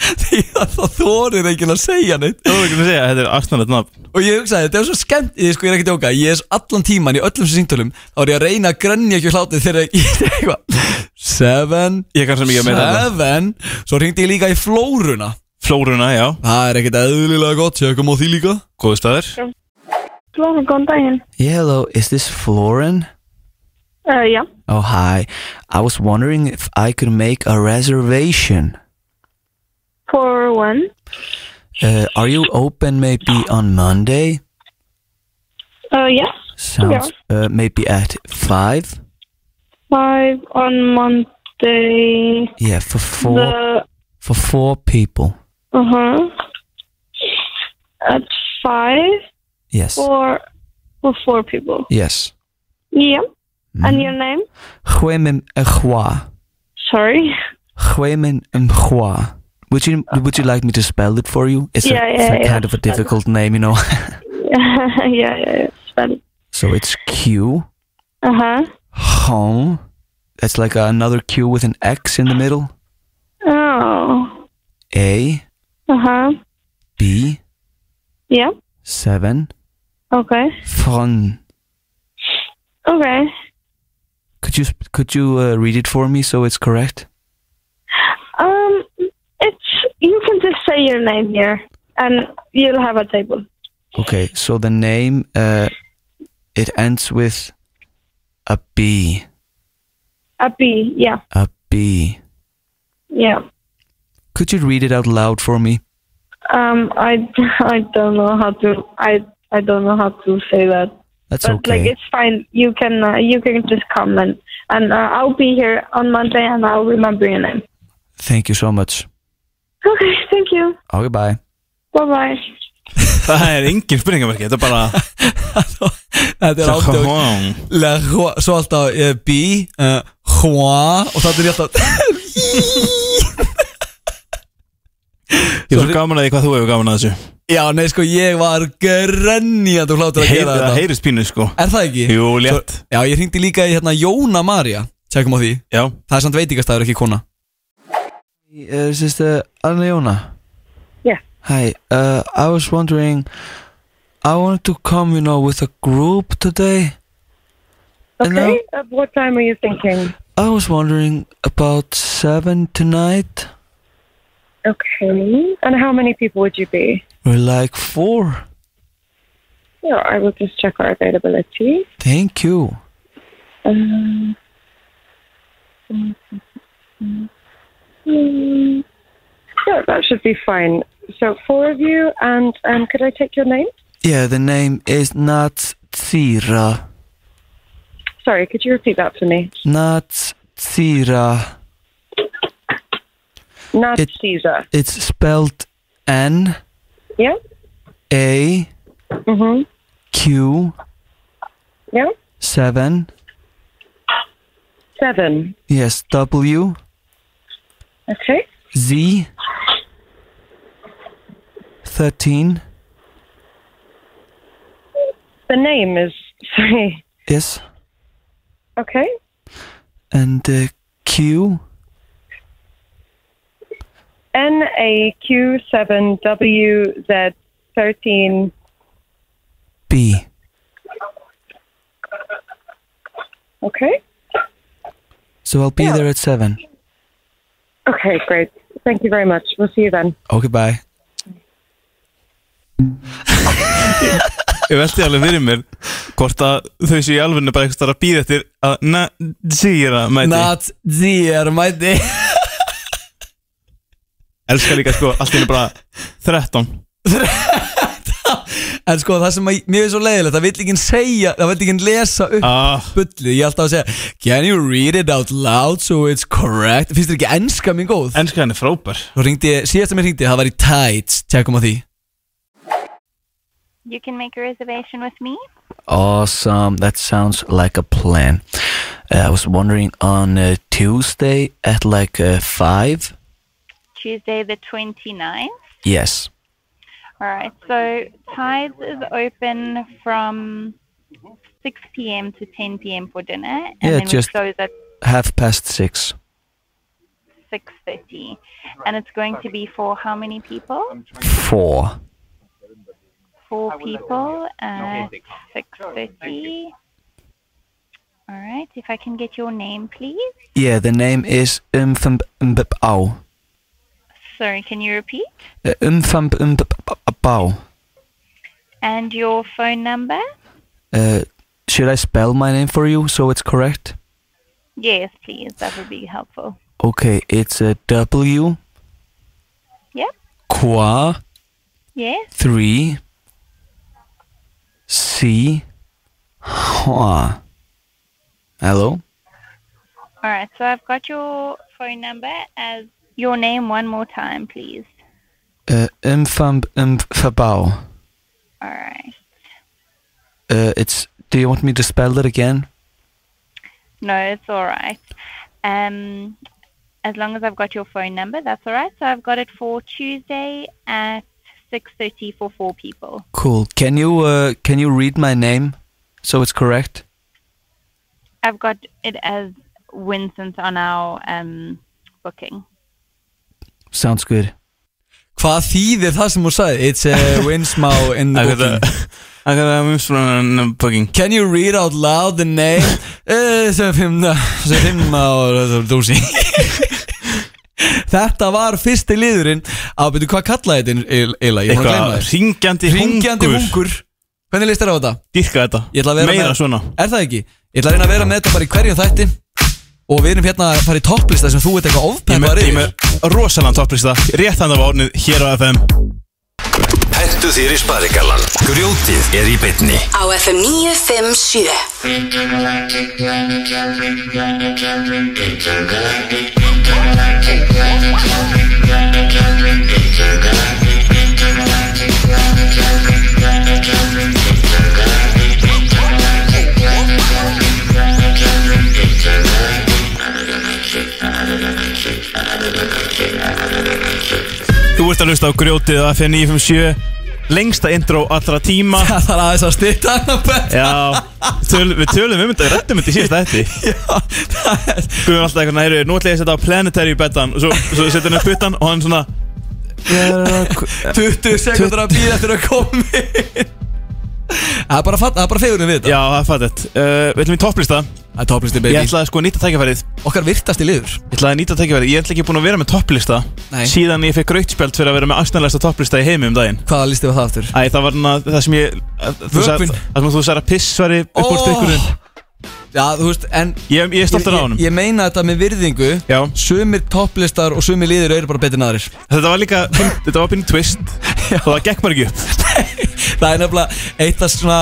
B: Því að það þorir enginn að segja neitt
F: Þú er ekki að segja að þetta er arsnarætt nafn
B: Og ég hugsaði, þetta er svo skemmt Ég, sko, ég er ekki að djóka, ég er allan tíman í öllum sem síntölum Þá er ég að reyna að grenja ekki úr hlátið þegar ég ég er eitthvað Seven,
F: Ég er kannski mikið að meita þetta
B: seven Svo ringdi ég líka í flóruna
F: Flóruna, já,
B: Það er ekkert eðlilega gott, ég kom á því líka
F: góðu staður
H: Flóren, góðan daginn.
B: Yeah, hello, is this Florin?
H: Uh, já,
B: Oh, hi I was wondering if I could make a reservation
H: for when?
B: uh, Are you open maybe on Monday?
H: Uh, yes,
B: Sounds uh, maybe at five.
H: five on Monday.
B: Yeah, for four
H: The
B: for four people.
H: Uh huh. At five
B: Yes
H: for for four people.
B: Yes
H: Yeah. And your name?
B: Hwemim Echwa
H: Sorry.
B: Hwemim Echwa Would you would you like me to spell it for you? It's
H: Yeah,
B: a,
H: yeah,
B: it's a
H: yeah.
B: kind of a difficult name, you know.
H: yeah, yeah, yeah. Spell it.
B: so it's Q
H: Uh huh.
B: home. That's like another Q with an X in the middle.
H: Oh.
B: A
H: Uh huh.
B: B
H: Yeah.
B: seven
H: Okay.
B: fun.
H: Okay.
B: Could you sp- could you uh, read it for me so it's correct?
H: Um, it's you can just say your name here, and you'll have a table.
B: Okay, so the name uh, it ends with a B.
H: A B. Yeah.
B: A B.
H: Yeah.
B: Could you read it out loud for me?
H: Um, I I don't know how to I I don't know how to say that.
B: That's
H: but
B: okay.
H: like it's fine. You can uh, you can just comment, and uh, I'll be here on Monday, and I'll remember your name.
B: Thank you so much.
H: Okay. Thank you.
B: Okay, bye.
H: Bye bye.
F: Það er engin spurningamarki, þetta er bara
B: Þetta er ándjók. La hua, svo alltaf uh, B uh, Hua og það er ég alltaf
F: Ég er svo gaman að því hvað þú hefur gaman að þessu
B: Já, nei, sko, ég var grenjandi og hlátur að
F: Heyr,
B: gera
F: Það
B: þetta
F: heyrist pínu sko
B: Er það ekki?
F: Jú, létt
B: Já, ég hringdi líka í hérna Jóna Maria Tjekkum á því
F: Já,
B: Það er samt veitingastæður, ekki kona uh, Sister, Anna Jóna
I: Yeah.
B: Hi, uh, I was wondering I wanted to come, you know, with a group today And now-
I: Okay.
H: uh,
I: At what time are you thinking?
B: I was wondering about seven tonight
I: Okay. And how many people would you be?
B: We're like four
I: Yeah, I will just check our availability.
B: Thank you
I: Um, mm, yeah, that should be fine. So four of you, and um, could I take your name?
B: Yeah, the name is Natsira.
I: Sorry, could you repeat that for me?
B: Natsira.
I: Not
B: It-
I: Caesar.
B: It's spelled N
I: Yeah.
B: A
I: Mhm.
B: Q
I: Yeah.
B: seven.
I: Seven.
B: Yes, W
I: Okay.
B: Z thirteen.
I: The name is sorry.
B: Yes,
I: Okay.
B: and uh, Q.
I: N A Q seven W Z thirteen.
B: B.
I: Okay.
B: So I'll be there at seven.
I: Okay, great. Thank you very much. We'll see you then.
B: Okay, bye.
F: ég velti alveg fyrir mér Hvort að þau séu í alvegni bara eitthvað að býða eftir að Natsira mæti
B: Natsira, mæti.
F: Elskar líka sko, allt í henni bara 13
B: En sko, það sem að, mér er svo leiðilegt, það vill ekki segja, það vill ekki lesa upp
F: ah,
B: bullið, ég er alltaf að segja Can you read it out loud so it's correct Finnst þér ekki enska mín góð?
F: Enskar henni frábær
B: Svo ringdi, síðast að mér ringdi, það var í Tides Tjekkum á því
J: You can make a reservation with me.
B: Awesome, that sounds like a plan uh, I was wondering on uh, Tuesday at like uh, 5
J: Tuesday the 29th.
B: Yes
J: All right. So Tides is open from 6 p.m. to 10 p.m. for dinner, and
B: Yeah,
J: then
B: just-
J: we close at
B: Half past six
J: 6:30. And it's going to be for how many people?
B: Four
J: Four people at 6:30. All right. If I can get your name, please.
B: Yeah, the name is Umfambau
J: Sorry, can you repeat?
B: Uh, Umfambau
J: And your phone number?
B: uh, Should I spell my name for you so it's correct?
J: Yes, please. That would be helpful.
B: Okay, it's a W
J: Yep.
B: Qua
J: Yes.
B: three C Hua. Hello?
J: All right, so I've got your phone number as your name one more time, please.
B: Uh, umfam umfabao.
J: All right.
B: Uh, it's. Do you want me to spell it again?
J: No, it's all right. Um, as long as I've got your phone number, that's all right. So I've got it for Tuesday at 6.30 for four people.
B: Cool. Can you uh, can you read my name so it's correct?
J: I've got it as Vincent on our um, booking.
B: Sounds good. Hvað þýðir það sem hún sagði? It's uh, Winsmau in the
C: I got
B: booking.
C: a, I got a miss from a booking.
B: Can you read out loud the name? Eh, sem fimm- sem fimm á- dúsi. Þetta var fyrsti liðurinn að byrju hvað kallaði þetta eiginlega? Ég er búin að gleyma þér
C: Eitthvað ringjandi
B: Ringjandi
C: hungur.
B: hungur Hvernig líst þér á þetta?
C: Dýrka þetta.
B: Ég ætla að vera
C: Meira
B: með-
C: svona.
B: Er það ekki? Ég ætla að reyna að vera með þetta bara í hverjum þætti Og við erum hérna að fara í topplista sem þú ert eitthvað
C: Ég með,
B: ofpeppar
C: ég með rosalega topplista. Rétt þannig á árnið hér á FM.
D: Hentu þér í sparigallan Grjótið er í bytni
A: á FM 957
C: Þú ert að hlusta á grjótið á FM 957. Lengsta intro allra tíma.
B: Það er aðeins að styrta hana bett
C: Já, töl, við tölum um þetta, við rettum þetta í síðast eftir Guðum alltaf eitthvað næru, nú ætla ég að setja á planetary betan og svo, svo setja hann upp byttan og hann svona
B: 20 sekundur að býða eftir að koma inn. Það er bara, fatt- það er bara fegurinn við þetta
C: Já, það er fattet uh, Við ætlum í topplista
B: Það er topplisti
C: Ég
B: baby
C: ætlaði sko að nýta tækifærið Ég
B: Okkar virtasti liður
C: ætlaði að nýta tækifærið, ég ætla ekki búin að vera með topplista
B: Nei.
C: Síðan ég fekk rautspjald fyrir að vera með aðstæðanlegasta topplista í heimi um daginn
B: Hvaða listi var það aftur?
C: Æ, það var hann að það sem ég að- þú sagði-
B: Vökvinn.
C: Það sem þú sagði að piss var upp úr
B: Ó.
C: stykkurinn
B: Já, þú veist, en
C: Ég, ég
B: ég,
C: stoltur á
B: ég,
C: honum
B: ég meina þetta með virðingu
C: Já.
B: Sumir topplistar og sumir liður eru bara betur en aðrir
C: Þetta var líka, þetta var pinn twist Og það gekk bara ekki upp
B: Það er nefnilega eitt af svona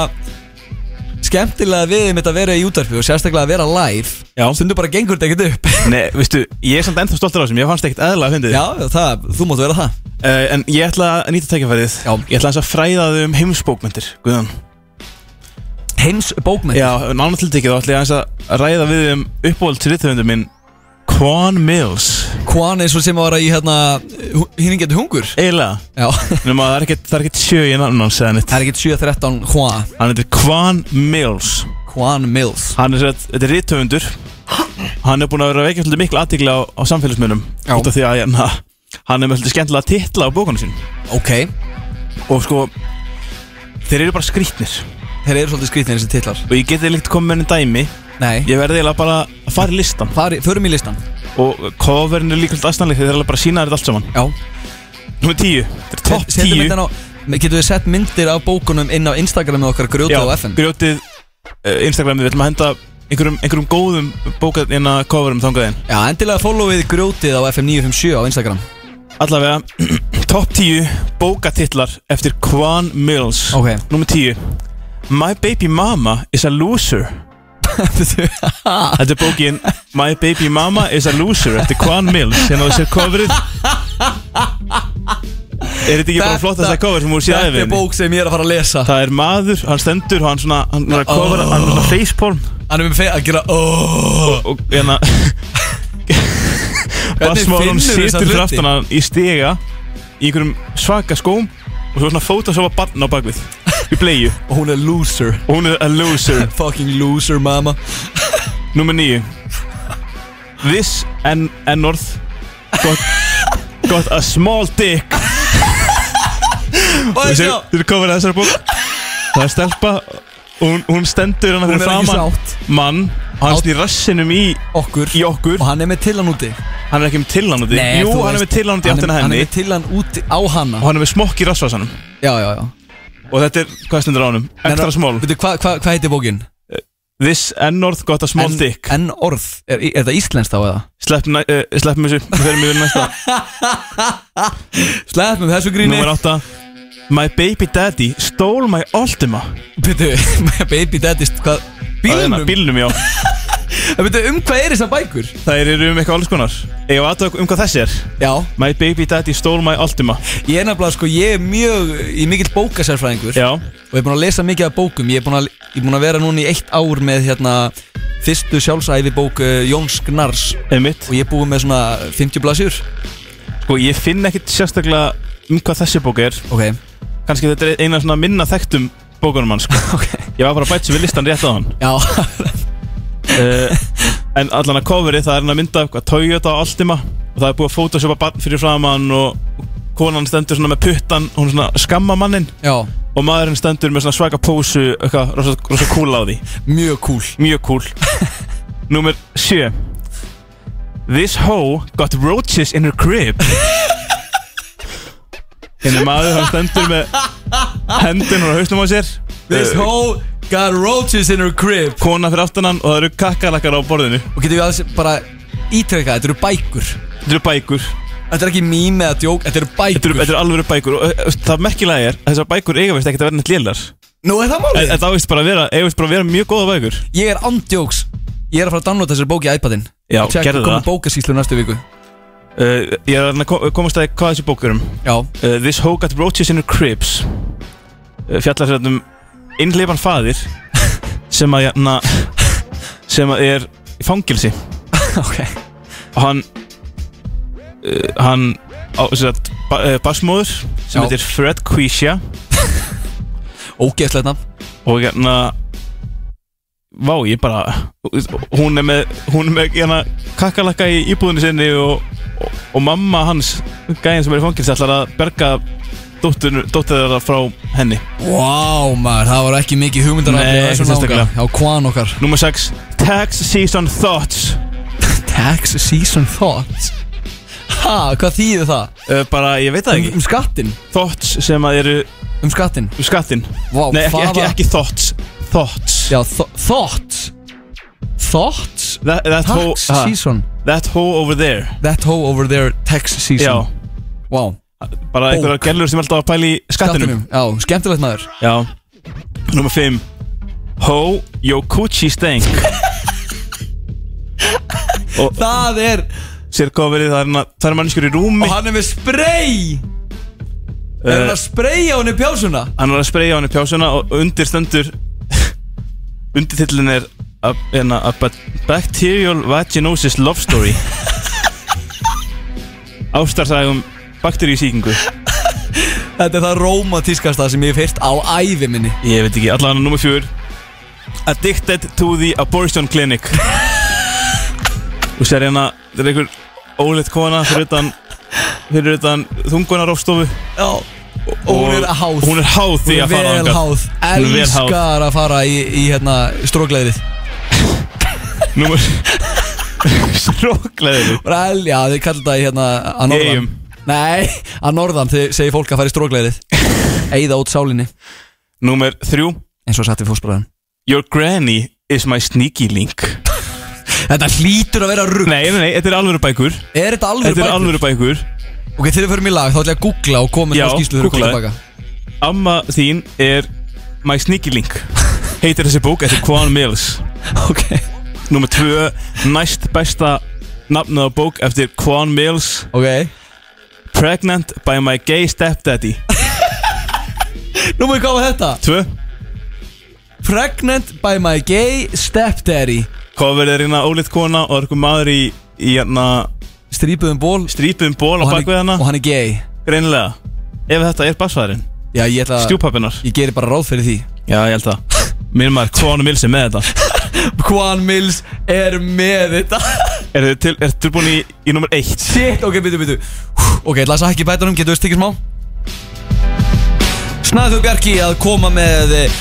B: Skemmtilega við um þetta að vera í útarpi Og sérstaklega að vera live
C: Já.
B: Stundum bara gengur þetta ekkert upp
C: Nei, veistu, ég er samt ennþá stoltur á þessum, ég fannst ekkert eðla að fyndið
B: Já, það, þú máttu vera það
C: uh, En ég ætla að nýta tækifærið
B: Já.
C: Ég ætla aðeins að fræða þau um heimsbókmyndir Guðan
B: Heims bókmenn
C: Já, nána til tekið þá ætla ég aðeins að ræða við þau um uppáhalds rithöfundum minn Quan Mills
B: Kwan eins og sem var í hérna Hinn getur hungur
C: Eiginlega,
B: Já
C: nema að það er ekkert, það er ekkert sjö í nafnum hans eða neitt
B: Það er ekkert 713 Kwan
C: Hann heitir Quan Mills
B: Kwan Mills
C: Hann er sér þetta er rithöfundur Hann er búinn að vera að vekja svolítið mikla aðtikla á, á samfélagsmiðlum
B: Já.
C: Út af því að na, hann er með svolítið skemmtilega titla á bókunum sín
B: Ok
C: Og sko, þeir eru bara skrýtnir
B: Þeir eru svolítið skrýtnir þessi titlar
C: Og ég geti líkt komið með enn dæmi
B: Nei
C: Ég verði eiginlega bara að fara í listan
B: Fari, förum í listan
C: Og coverin er líka alltaf aðstæðanlegt Þeir eru bara að sína þér þetta allt saman
B: Já
C: Númer 10 Þetta er topp
B: Setjum
C: 10
B: myndina á Getum við sett myndir af bókunum inn á Instagramið okkar
C: Já,
B: grjótið á FM
C: grjótið uh, Instagramið Við ætlum að henda einhverjum, einhverjum góðum bókarnina coverum þangað inn
B: Já, endilega followið grjótið á FM 957 á Instagram
C: Allavega Topp 10 bókatitlar eftir Quan Mills
B: Ok.
C: Númer 10 My baby mama is a loser Þetta er bókin My baby mama is a loser eftir Quan Mills Hérna þú sér coverið Er þetta ekki bara
B: Þetta-
C: flottasta cover sem þú séð
B: Þetta er
C: æfiðinni?
B: bók sem ég er að fara að lesa
C: Það er maður, hann stendur og hann svona, hann er að kofra,
B: Oh.
C: hann er svona facepalm
B: Hann er með feið að gera oh,
C: og hérna Bassmálun
B: finnurðu þessa
C: situr
B: hluti?
C: fyrir aftan hann í stiga í einhverjum svaka skóm og svo svona fótasofa barn á bakvið í bleiðu
B: Og hún er loser
C: og hún er a loser
B: Fucking loser mama
C: Númer níu This en North got, got a small dick
B: Og
C: Þú
B: þessi
C: sér,
B: Hún
C: þú er komin að þessari bók Það er stelpa og hún, hún stendur hann
B: er
C: fyrir
B: ekki
C: framan
B: sátt
C: mann og hann
B: Á-
C: snýr rassinum í,
B: Okkur
C: í okkur
B: Og hann er með tillan úti
C: Hann er ekki með tillanandi Jú,
B: þú
C: hann er
B: veist,
C: með tillanandi í
B: hann er-
C: áttina að
B: Hann er
C: henni
B: með tillan úti á hana
C: og hann er með smokk í rassvarsanum
B: Já, já, já
C: Og þetta er, hvað stendur á honum? Extra small
B: Veitu, hvað hva, hva heitir bókin?
C: This N-orð got a small
B: En-
C: dick
B: En orð, er, er það íslenskt þá eða?
C: Sleppum uh, sleppum þessu, við ferum yfir í næsta
B: Slepp með þessu gríni
C: Númer átta My baby daddy stole my Ultima
B: Bittu, baby daddy, hvað?
C: Á, hérna,
B: Bílnum?
C: Bílnum, já
B: En veitu, um hvað er þessar bækur?
C: Það eru um eitthvað alls konar Ég var aðtökk um hvað þessi er
B: Já,
C: My baby daddy stole my Ultima
B: ég er nefnilega, sko, ég er mjög, ég er mikill bókasærfræðingur
C: Já
B: Og ég er búin að lesa mikið af bókum Ég er búin að, ég er búin að vera núna í eitt ár með, hérna, fyrstu sjálfsæfi bók uh, Jóns Gnars
C: Einmitt
B: Og ég er búin með svona 50 blasjur
C: Sko ég finn ekkit sérstaklega um hvað þessi bók er
B: Ok,
C: Kanski þetta er eina svona minna þekktum bókunum hans sko.
B: ok,
C: Ég var bara að bæta sér við listan rétt á hann
B: já,
C: uh, En allan að coverið það er hann að mynda hvað, Toyota og Altima Og það er búið að photoshopa barn fyrir framann Og konan stendur svona með puttan Hún svona skamma mannin
B: já,
C: Og maðurinn stendur með svona svaka pósu Eitthvað rosa, rosa cool á því
B: mjög cool
C: Mjög cool Númer 7 This hoe got roaches in her crib Henni maður hann stendur með hendun og hausnum á sér
B: This
C: Eh,
B: hoe got roaches in her crib
C: Kona fyrir aftan hann og það eru kakkalakar á borðinu
B: Og getum við aðeins bara ítreka, þetta eru bækur
C: Þetta eru bækur
B: Þetta er ekki mím eða djók, þetta eru bækur
C: Þetta eru, þetta eru alveg bækur og eh, það merkilega er að þessar bækur eiga veist ekki að vera neitt lélar
B: Nú er það málið?
C: Þetta ávist bara að vera, eiga veist bara að vera mjög góða bækur
B: Ég er andjóks Ég er að fara að downloada þessari bók í iPadin
C: Já,
B: Check,
C: gerðu
B: komum
C: það.
B: bókasýslu næstu viku
C: uh, Ég er að reyna að ko- komast að hvað þessi bókur er um
B: Já,
C: uh, This hoe got roaches in her cribs uh, fjallar hérna um innleipan faðir sem að hérna sem að er í fangilsi
B: ok
C: og hann uh, hann á, sem sagt, ba uh, basmóður sem
B: Já.
C: heitir Fred Quisha
B: Ógeðslegt nafn
C: og hérna Vá, ég bara Hún er með, hún er með hérna, kakkalakka í íbúðinu sinni og, og, og mamma hans, gæðin sem er í fangilsi ætlar að berga dóttur þeirra frá henni
B: Vá maður, það var ekki mikið hugmyndar
C: Nei, ekki sérstaklega.
B: Já, hvaðan okkar
C: Númer 6 Tax Season Thoughts
B: Tax season thoughts Ha, hvað þýðir það?
C: uh, Bara, ég veit það
B: Um,
C: ekki
B: um skattin
C: Thoughts sem að eru
B: Um skattin
C: um skattinn
B: Vá,
C: Nei, ekki,
B: hvaða-
C: ekki, ekki thoughts Thoughts
B: Já, þo- thoughts Thoughts
C: That, that, hoe,
B: Tax
C: ha,
B: season
C: that hoe over there
B: That hoe over there tax
C: Já,
B: season Vá,
C: bara einhverjar gælur sem er alltaf að pæla í skattinum
B: skattinum Já, skemmtilegt maður
C: Já Númer 5 Ho, your coochie stank
B: Það er
C: Sér coverið, það er hérna Það er mannskjur í rúmi Eh,
B: Og hann er með spray Er hann að spraya hann í pjásuna?
C: Hann er að spreyja hann í pjásuna og undir stendur Undirtillin er a, hérna, a ba- Bacterial Vaginosis Love Story Ástarsægum bakteríusíkingu
B: Þetta er það romantískasta sem ég hef heyrt á ævi minni
C: Ég veit ekki, allan nummer fjör Addicted to the Abortion Clinic Og sér hérna, þetta er einhver óleitt kona fyrir utan, fyrir utan þungunarófstofu
B: Já Og hún er háð
C: Hún er háð því
B: Hún er
C: að fara
B: vel
C: þangað.
B: háð
C: Hún er vel háð.
B: Elskar að fara í, í hérna strókleðrið
C: Númer Strókleðinu
B: Hún er el, já þið kallar það í hérna að norðan
C: Eyjum.
B: Nei, að norðan þið segir fólk að fara í strókleðrið Eyða út sálinni
C: Númer þrjú
B: eins og satt við fósbræðan
C: Your granny is my sneaky link
B: Þetta hlýtur að vera rugg
C: Nei, nei, nei, þetta er alvöru bækur
B: Er þetta alveg
C: Þetta er alvöru bækur
B: Ok, þegar við förum í lag þá ætla ég að googla og koma með
C: Já,
B: smá skýrslu þegar við komum
C: googlaðu.
B: tilbaka
C: Amma þín er my sneaky link Heitir þessi bók eftir Quan Mills
B: Ok,
C: Númer tvö Næst besta nafnið á bók eftir Quan Mills
B: ok
C: Pregnant by my gay stepdaddy
B: Nú mér koma þetta
C: Tvö
B: Pregnant by my gay stepdaddy
C: Cover er hérna ólitt kona og það er einhver maður í, í hérna
B: Strípuðum ból
C: strípuðum ból á
B: og hann,
C: bakvið
B: er,
C: hana
B: og hann er gay
C: Greinilega Ef þetta er basfæðurinn
B: Já, ég ætla að
C: Stjúpapinnar
B: Ég geri bara ráð fyrir því
C: Já, ég held það Mér maður Quan Mills er með þetta
B: Quan Mills er með þetta
C: Er þið til, er tilbúin í, í nummer eitt
B: Shit, ok, bitu, bitu Ok, ætla að sakka í bætanum, getur við stikkið smá Snæðu Bjarki að koma með eh,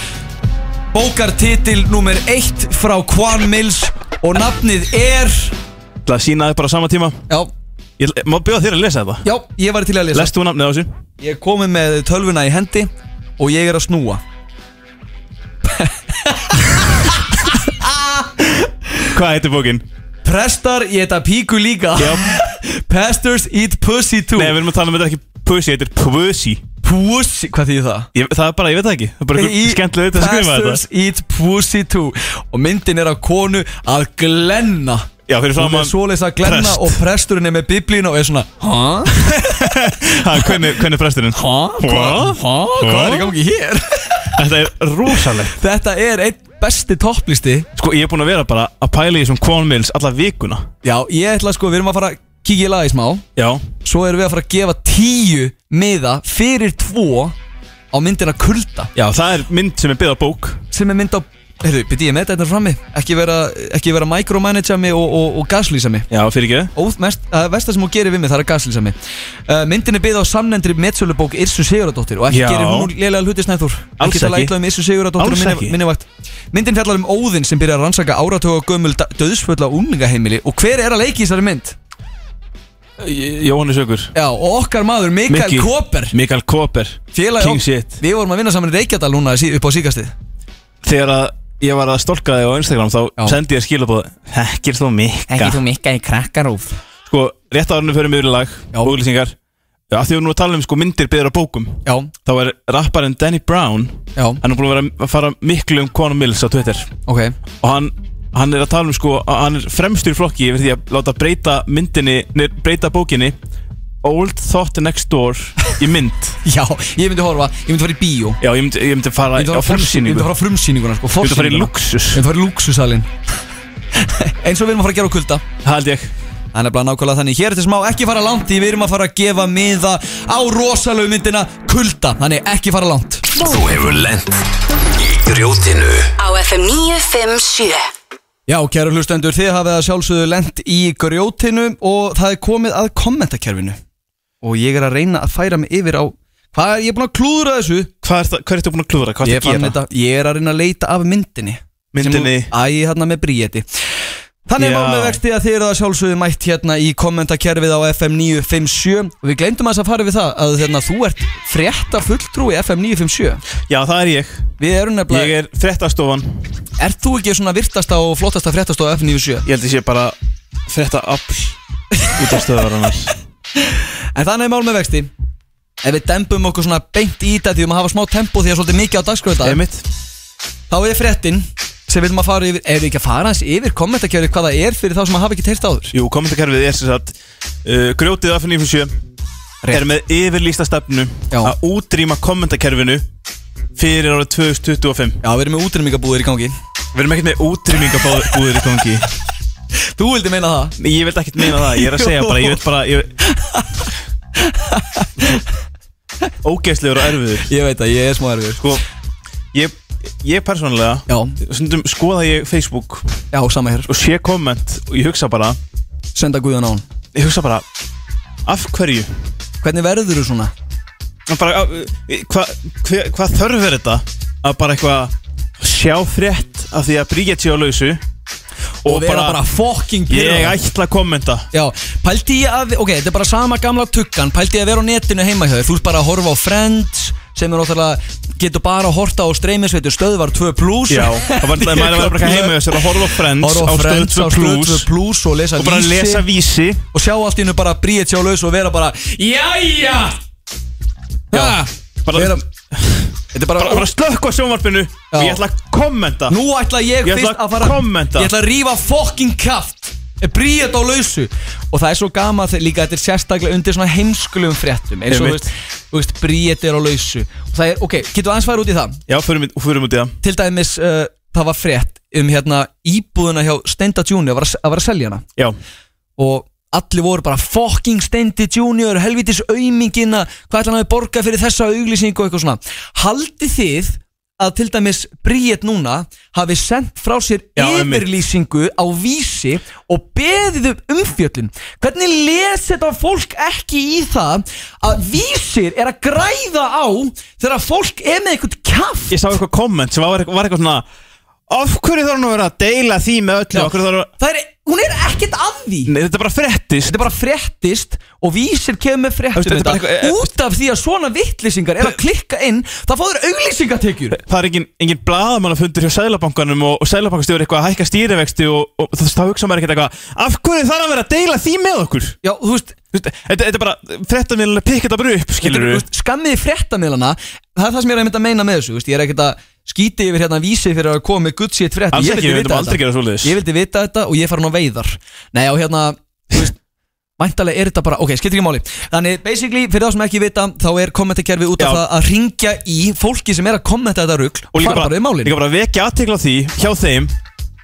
B: Bókartitil nummer 1 frá Quan Mills Og nafnið er
C: Það að sína þið bara á sama tíma
B: Já,
C: Ég ætla- Má bjóða þér að lesa þetta
B: já, ég var til að lesa
C: Lest þú nafnið á þessu
B: Ég er komið með tölvuna í hendi Og ég er að snúa
C: Hvað heitir bókin?
B: Prestar geta píku líka
C: Já
B: Pastors eat pussy too
C: Nei, við erum að tala um þetta ekki Pussy, þetta er Pussy
B: Pussy, hvað þýðir það?
C: Ég, það er bara, ég veit það ekki Það er bara
B: Í-
C: eitthvað skemmtilega þetta að skrifa þetta
B: Pastors eat pussy too Og myndin er af konu að glenna
C: Já, fyrir
B: Hún er
C: framann
B: svoleiðis að glenna
C: prest.
B: og presturinn er með biblín og er svona Hæ?
C: Ha, Hvernig hvernig er presturinn?
B: Hæ? Hvað? Hæ? Hvað er í gangi hér?
C: Þetta er rosalegt
B: Þetta er einn besti topplisti
C: Sko, ég er búin að vera bara að pæla í þessum konmils alla vikuna
B: Já, ég ætla sko, við erum að fara að kíkja í lagi smá
C: Já
B: Svo erum við að fara að gefa tíu miða fyrir tvo á myndina Kulda
C: Já, það er mynd sem er byggð á bók
B: sem er mynd á Heyrðu, byrju, ég með þetta hérna frammi Ekki vera, ekki vera micromanagja mig og, og, og gaslýsa mig
C: Já, fyrir ekki
B: Óð- mest- Það versta sem hún gerir við mig, það er að gaslýsa mig uh, Myndin er byggð á samnendri metsölubók Irsu Siguradóttir og ekki
C: Já.
B: gerir hún lélega hluti snæður
C: Alls
B: Ekki tala
C: ekki.
B: eitthvað um Irsu Siguradóttir
C: Alls
B: og minni,
C: ekki.
B: minni vakt Myndin fjallar um Óðinn sem byrjar að rannsaka áratöga gömul da- döðsföll á úlingaheimili og hver er að leiki í þessari mynd?
C: J- Jóhannes Ögur
B: Já, og okkar maður Mikael
C: Mikki.
B: Koper
C: Mikael Koper
B: Félagi
C: King
B: ok-
C: shit
B: Við vorum að vinna saman í Reykjadal núna sí- upp á síkastið
C: Þegar að ég var að stolka þig á Instagram þá
B: Já.
C: sendi ég skilabóð Hekkir þú mikka
B: Mikka í krakkarúf
C: Sko, rétt árunum fyrir miður í lag
B: Já.
C: Úglýsingar Já, af því við erum nú að tala um sko myndir byggðar á bókum
B: Já,
C: Þá er rapparinn Danny Brown
B: já,
C: Hann er búin að vera að fara miklu um Conor Mills á Twitter
B: ok
C: Og hann, hann er að tala um sko að Hann er fremstur í flokki yfir því að láta breyta myndinni Nei, breyta bókinni Old Thought Next Door í mynd
B: Já, ég myndi horfa, ég myndi fara í bíó
C: Já, ég myndi, ég myndi fara
B: Ég myndi
C: á
B: fara á frumsýningu Ég myndi
C: frumsýningu
B: fara á frumsýninguna sko,
C: Ég myndi fara í
B: forsýninguna.
C: luxus
B: Við erum farið í lúksusalinn Eins og við erum að fara að gera á kulda
C: Það held ég
B: Það er nefnilega nákvæmlega þannig Hér er til smá ekki fara langt Því við erum að fara að gefa miða á rosalegu myndina kulda Þannig ekki fara langt
D: Þú hefur lent í grjótinu
A: á FM 957
B: Já, kæru hlustendur, þið hafið að sjálfsögðu lent í grjótinu Og það er komið að kommentakerfinu Og ég er að reyna að færa mig yfir á Hvað er ég er búinn að klúðra þessu?
C: Hvað er það, hvað ertu búin að klúðra? Hvað
B: Ég,
C: ertu að
B: fann
C: gera?
B: þetta, ég er að reyna að leita af myndinni
C: Myndinni
B: Sem- Æ, hérna með bríeti Þannig
C: Já.
B: var með vexti að þið eru að sjálfsögðu mætt hérna í kommentakerfið á FM 957 og við glemdum að það fara við það að hérna, þú ert frétta fulltrúi FM 957
C: Já, það er ég
B: Við erum
C: Ég
B: nefnilega,
C: er frettastofan Ég
B: er... þú ekki svona virtasta og flottasta fréttasta á FM 957?
C: held ég sé bara fretta afl út af stöðvarannar
B: En þannig er mál með vexti Ef við dembum okkur svona beint í þetta því við maður hafa smá tempo því að svolítið mikið á dagskröða
C: Einmitt
B: Þá er fréttin sem við viljum að fara yfir Ef við ekki að fara hans yfir kommentarkerfið hvað það er fyrir þá sem að hafa ekki teirt áður
C: Jú, kommentarkerfið er sem sagt uh, Grjótið af 97 Er með yfirlýsta stefnu
B: Já.
C: Að útrýma kommentarkerfinu Fyrir árið 2025
B: Já, við erum með útrýmingabúðir í gangi
C: Við erum ekkert með útrýmingabúður í gangi
B: Þú vildi meina það?
C: Nei, Ég vil ekkert meina það Ég er að segja bara Ég vil bara ég... Ógeðslegur og erfiður
B: Ég veit að ég er smá erfið
C: Sko, ég, ég persónulega
B: Já,
C: Stundum skoða ég Facebook
B: já, sama hér
C: og sé komment og ég hugsa bara
B: Senda Guðan á hann
C: ég hugsa bara af hverju
B: Hvernig verður þú svona?
C: Og bara, á, eh, hvað hva, hva þörf er þetta að bara eitthvað sjá frétt af því að Bríkett sé á lausu og,
B: Og vera bara, fucking
C: ég
B: pirraður.
C: ætla að kommenta
B: Já, pældi ég að, ok, þetta er bara sama gamla tukkan Pældi ég að vera á netinu heima hjá þér Þú ert bara að horfa á Friends Sem er ótrúlega, getur bara að horta á streymisveitu Stöðvar 2 plus
C: já, og verður að maður verður bara eitthvað heima hjá sér að horfa á Friends
B: Horfa á
C: á
B: Friends á
C: stöðu 2
B: Stöð 2
C: plus
B: plus Og lesa
C: og bara
B: vísi
C: lesa vísi
B: Og sjá allt í hennu bara bríðið sjá laus Og vera bara, jæja
C: Já, bara,
B: Vera-
C: bara,
B: Þetta er bara,
C: bara, slökk á sjónvarpinu og ég ætla að kommenta
B: Nú ætla ég,
C: Ég ætla
B: fyrst
C: að
B: að fara
C: kommenta.
B: Ég ætla að rífa fokkin kraft Bríðið á lausu Og það er svo gama þegar líka þetta er sérstaklega undir svona heimskulum fréttum eins og þú
C: Einmitt.
B: veist, þú veist bríðið er á lausu og það er, ok, getur aðeins fara út í það
C: já, förum, við- förum út í það
B: til dæmis, uh, það var frétt um hérna íbúðuna hjá Steinda Junior að, vera- að vera að selja hana
C: já,
B: og allir voru bara fucking Steindi Junior helvitis aumingina hvað ætla hann að borga fyrir þessa auglýsingu og eitthvað svona haldið þið að til dæmis Bríett núna hafi sendt frá sér
C: Já, einmitt.
B: yfirlýsingu á vísi og beðið um umfjöllun hvernig les þetta fólk ekki í það að vísir er að græða á þegar fólk er með eitthvað kjaft
C: ég sá eitthvað komment sem var, var eitthvað svona Af hverju þarf hann að vera að deila því með öllu?
B: Já.
C: Af hverju þarf hann að
B: það er, hún er ekkert að því
C: Nei, þetta bara frettist
B: Þetta bara fréttist og vísir kemur með fréttum
C: Þetta er
B: þetta
C: bara eitthvað-
B: Út af því að svona vittlýsingar er að klikka inn Það fáður auglýsingatekjur
C: Það er engin, engin blaðamannafundur hjá Sælabankanum og, og Sælabankastjóri eitthvað að hækka stýrivexti og, og þú veist, þá hugsa maður ekkert eitthvað Af hverju þarf að vera að deila því með okkur?
B: Já, þú veist,
C: Þú veist, Þetta þetta er bara, frettamilin að pikka þetta bara upp,
B: þetta
C: skilur
B: er, þú
C: við
B: veist, skammiði fréttamiðlana Það er það sem ég er einmitt að meina með þessu þú veist, Ég er ekkert að skíti yfir hérna vísi fyrir að koma með gutt sétt frétt
C: Alls ekki, við veitum aldrei gera svoleiðis
B: Ég vildi vita þetta og ég fara nú á veiðar Nei og hérna þú veist, Væntalega er þetta bara, ok, skiptir ekki máli Þannig basically, fyrir þá sem ekki vita Þá er kommentakerfi út af
C: Já.
B: það að ringja í Fólki sem er að kommenta þetta rugl
C: Og líka
B: fara
C: bara,
B: bara í málin
C: líka bara vekja aðtekla á því hjá þeim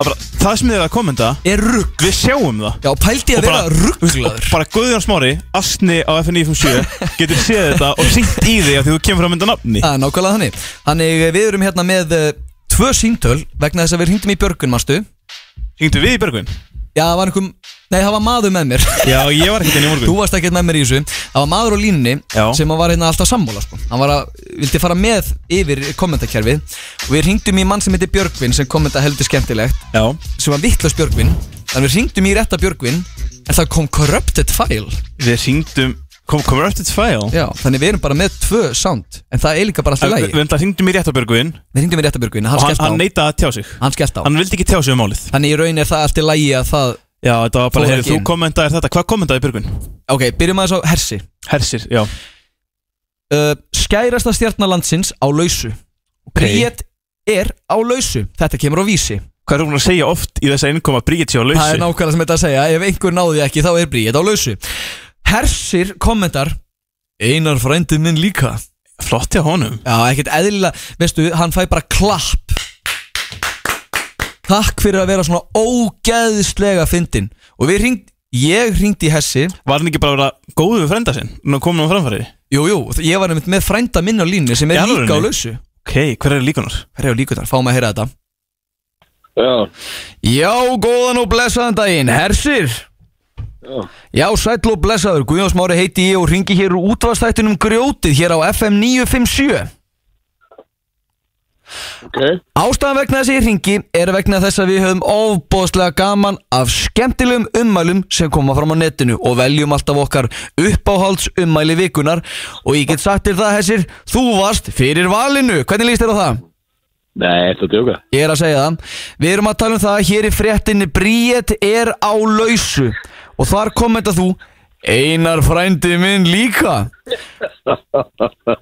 C: að bara, Það sem þið er að kommenta,
B: Er rugg
C: við sjáum það
B: Já, pældi ég
C: Og
B: að vera rugglaður
C: bara Guðjón Smári, asni á FNI57 getur séð þetta og syngt í því að því þú kemur frá mynda nafni
B: Það er nákvæmlega þannig Þannig við erum hérna með uh, tvö síntöl Vegna þess að við hringdum í Björgun, manstu Já,
C: Hengdu við í Björgvin?
B: það var einhver Nei, það var maður með mér
C: Já, ég var ekkert inn í
B: Þú
C: morgun
B: varst ekkert með mér í þessu Það var maður á línni
C: Já.
B: sem að var hérna alltaf sammála sko. Hann var að, vildi fara með yfir kommentakerfið og við hringdum í mann sem heitir Björgvin sem kommenta heldur skemmtilegt
C: Já,
B: sem var vittlust Björgvin þannig við hringdum í rétta Björgvin en það kom corrupted file
C: við hengdum kom, Komur öll þetta fæl?
B: Já, þannig við erum bara með tvö sound en það er líka bara alltaf
C: Við
B: lægi
C: við enda hengdum í rétt á Björgvin
B: Við hringdum í rétta Björgvin, hann
C: og hann,
B: skellt á
C: hann neitaði að tjá sig
B: Hann skellt á
C: Hann vildi ekki tjá sig um málið
B: Þannig í raun er það alltaf lægi að það
C: Já, þetta var
B: Fór
C: bara, heyrðu,
B: ekki
C: þú
B: inn.
C: kommentaðir þetta Hvað kommentaði Björgvin?
B: Ok, byrjum aðeins á hersi
C: Hersir, já
B: uh, Skærasta stjarnalandsins á lausu Bríett er á lausu Þetta kemur á vísi
C: Hvað er hún að segja oft í þess að innkoma Bríkit sér á
B: Það er
C: lausi?
B: nákvæmlega sem þetta að segja Ef einhver náði því ekki þá er bríð á lausu Hersir kommentar Einar frændið minn líka
C: Flott hjá honum
B: Já, ekkert eðlilega Veistu, hann fæ bara klapp Takk fyrir að vera svona ógeðslega fyndin Og við hringd Ég hringdi í Hessi
C: Var hann ekki bara að vera góðu við frenda sinn? Nú komin á framfæri
B: Jú, jú, ég var nefnt með frænda minn á línni Sem er líka
C: Í
B: á
C: alvörunni?
B: lausu
C: Ok, hver er líkunar?
B: Herra og líkunar, fáum að heyra þetta
G: Já,
B: Já, góðan og blessaðan daginn, hersir Já, sæll og blessaður, Guðjón Smári heiti ég og ringi hér úr útvastættunum grjótið hér á FM 957
G: ok.
B: Ástæðan vegna þess að ég ringi er vegna þess að við höfum ofbóðslega gaman af skemmtilegum ummælum sem koma fram á netinu og veljum alltaf okkar uppáhalds ummæli vikunar og ég get sagt til það, hersir, þú varst fyrir valinu, hvernig líst þér á það?
G: Nei, þetta er djóka.
B: Ég er að segja það Við erum að tala um það að hér í fréttinni Bríett er á lausu Og þar kommenta þú Einar frændi minn líka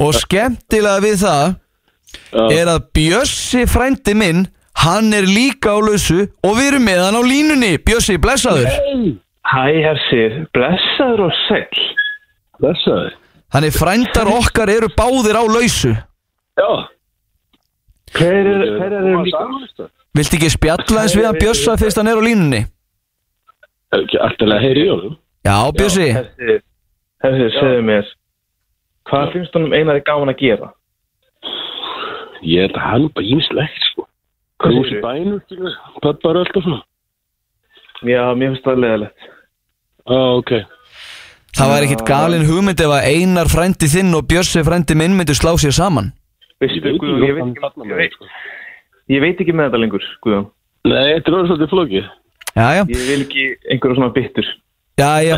B: Og skemmtilega við það Er að Bjössi frændi minn Hann er líka á lausu Og við erum með hann á línunni Bjössi, blessaður
K: Hæ, hersir, blessaður og sæl.
G: Blessaður.
B: Þannig frændar okkar eru báðir á lausu
G: Já.
K: Hver er, hver er þeir líka?
G: líka?
B: Viltu ekki spjalla eins við hann Bjössa Fyrst hann er á línunni
G: Er ekki alltaf að heyri í honum?
B: Já, Bjössi
K: Hersir, hersir, segðu mér, hvað finnst honum einari gaman að gera?
G: Ég held að hann er bara ímislegt, sko.
K: Hvað
G: Krús í
K: segirðu?
G: bænum, skilur. Pöppar og alltaf svona.
K: Já, mér finnst það leðilegt.
G: Já, ok.
B: Það var ekkit galin hugmynd ef að Einar frændi þinn og Bjössi frændi minn myndu slá sér saman
G: Ég
K: Veistu,
G: veit
K: Guðjón,
G: ekki
K: ég veit
G: hann sko.
K: ekki,
G: þarna
K: ég
G: með
K: veit, ég veit ekki með þetta lengur, Guðjón.
G: Nei, þetta er orðið svolítið flókið.
B: Já, já,
K: Ég vil ekki einhverja svona bittur.
B: já, já,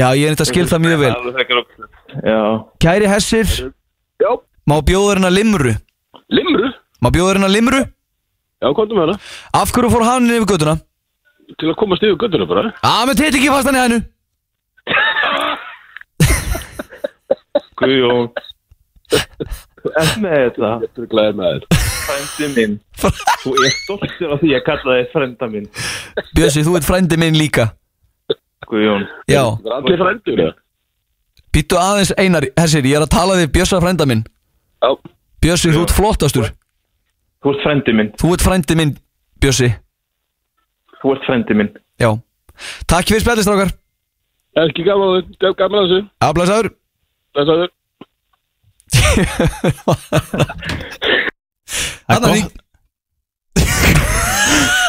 B: já ég er neitt að skil það mjög vel
K: Alveg þekkar okkur. Já,
B: Kæri Hessir,
G: Já.
B: má bjóður hennar limru
G: Limru?
B: Má bjóður hennar limru
G: Já, komdu með hana.
B: Af hverju fór hann yfir göttuna?
G: Til að komast yfir göttuna bara.
B: Á, menn teit ekki fastan í hennu
K: Guðjón. Þú ert með þetta,
G: Þetta er glæðið með þér.
K: frændi minn. Þú ert stoltur á því að kalla þig frænda minn,
B: Bjössi, þú ert frændi minn líka
K: Guðjón.
B: Já,
G: Það er allir frændur, eða?
B: býttu aðeins Einar Hessir, ég er að tala við Bjössa frænda minn
G: Já.
B: Bjössi, þú ert flottastur
K: Þú ert frændi minn,
B: Þú ert frændi minn, Bjössi
K: þú ert frændi minn.
B: Já, takk fyrir spjallistrákar
G: Ekki gaman að þessu. Gaman að þessu.
B: Aflæsaður
G: Blessaður.
C: Það er
B: Annar
C: gott-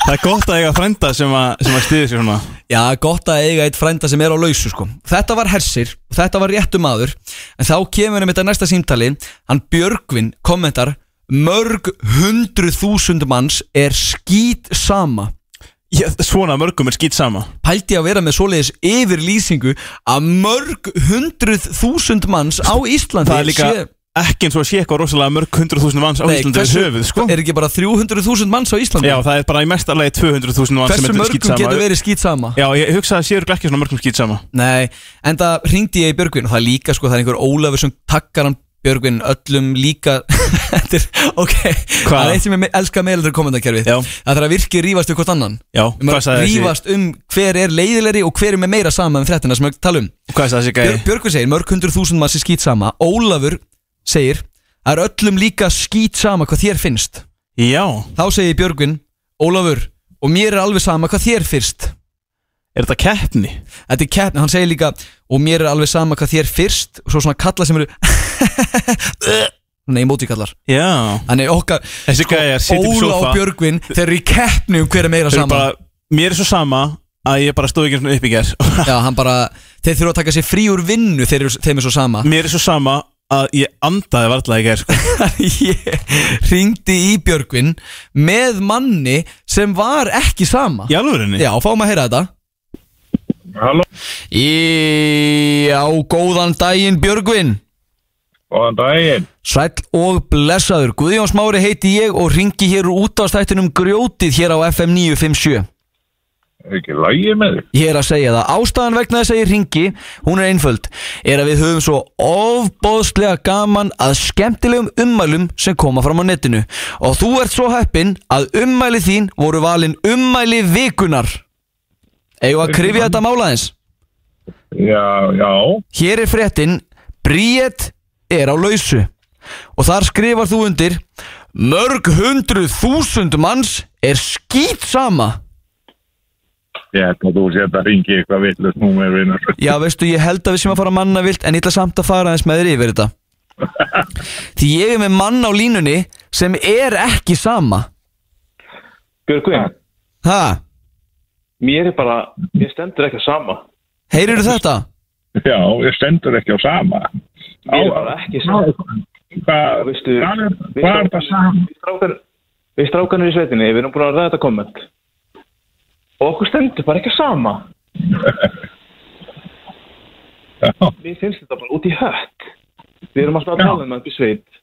C: það er gott að eiga frenda sem að, sem að stiði sig svona
B: Já, gott að eiga eitt frænda sem er á lausu sko Þetta var hersir, þetta var réttu maður En þá kemur um þetta næsta símtali Hann Björgvin kommentar Mörg hundru þúsund manns er skýt sama
C: ég, svona mörgum er skýt sama
B: pældi ég að vera með svoleiðis yfirlýsingu að mörg hundruð þúsund manns á Íslandi
C: Það er líka ekki eins og að sé eitthvað rosalega mörg hundruð þúsund manns á
B: Nei,
C: Íslandi
B: hversu-
C: hversu, höfuð, sko.
B: er ekki bara 300.000 manns á Íslandi?
C: Já, það er bara í mesta lagi 200.000 manns sem
B: Hversu
C: þetta er
B: mörgum
C: skítsama.
B: getur verið skýt sama?
C: Já, ég hugsa að það séu örugglega ekki svona mörgum skýt sama
B: Nei, en það ringdi ég í Björgvin og það er líka sko, það er einhver Ólafur sem takkar hann Björgvin öllum líka Þetta er, ok Það er eitt sem ég me- elska meðlega kommentarkerfi Já. Það þarf að virki rífast við hvort annan
C: Já,
B: um
C: hvað sagði þessi-
B: Rífast um hver er leiðilegri og hver er með meira sama um fréttina sem við talum
C: Hvað sagði þessi gæi?
B: Björgvin segir, mörg hundruð þúsund maður sem skýt sama Ólafur segir, það er öllum líka skýt sama hvað þér finnst
C: Já
B: Þá segir Björgvin, Ólafur og mér er alveg sama hvað þér finnst
C: Er þetta keppni?
B: Þetta er keppni, hann segir líka og mér er alveg sama hvað þér fyrst og svo svona kalla sem eru Nei, mótíkallar
C: Já
B: Þannig okkar
C: Þessi sko, gæja situr í
B: Óla
C: sofa
B: og Björgvin, þeir eru í keppni um hver er meira
C: Þeir eru
B: sama
C: bara, Mér er svo sama að ég bara stóð ekki einu sinni upp í ger
B: Já, hann bara Þeir þurfa að taka sér frí úr vinnu þeir, eru- þeim er svo sama
C: Mér er svo sama að ég andaði varla í ger sko.
B: Ringdi í Björgvin með manni sem var ekki sama
C: Í alvörinni?
B: Já, fáum að heyra þetta
G: Halló
B: Já, góðan daginn Björgvin
G: Góðan daginn
B: Sæll og blessaður, Guðjón Smári heiti ég og ringi hér úr útastættunum grjótið hér á FM 957.
G: Er ekki lægi með þig?
B: Ég er að segja það, ástæðan vegna þess að ég ringi, hún er einföld, er að við höfum svo ofbóðslega gaman að skemmtilegum ummælum sem koma fram á netinu. Og þú ert svo heppinn að ummæli þín voru valin ummæli vikunar. Eigum við að krifja þetta málaðins?
G: Já, já
B: Hér er fréttin Bríett er á lausu Og þar skrifar þú undir Mörg hundruð þúsund manns er skýt sama
G: Ég ætla að þú sé að ringi eitthvað villust númer vinnur
B: Já veistu ég held að við sem að fara manna vilt En ég ætla samt að fara aðeins með þér yfir þetta Því ég er með mann á línunni Sem er ekki sama
K: Björgvin,
B: Ha,
K: mér er bara, mér stendur ekki á sama
B: heyrirðu þetta?
G: Já, ég stendur ekki á sama
K: Mér er bara ekki sama
G: Hvað
K: veistu,
G: hvað er-
K: við
G: hvað er
K: strákar-
G: það sama?
K: við strákar- Við strákanir í sveitinni, við erum búin að ræða þetta komment Og okkur stendur bara ekki á sama Mér finnst þetta bara út í hött Við erum alltaf að tala um þetta í sveit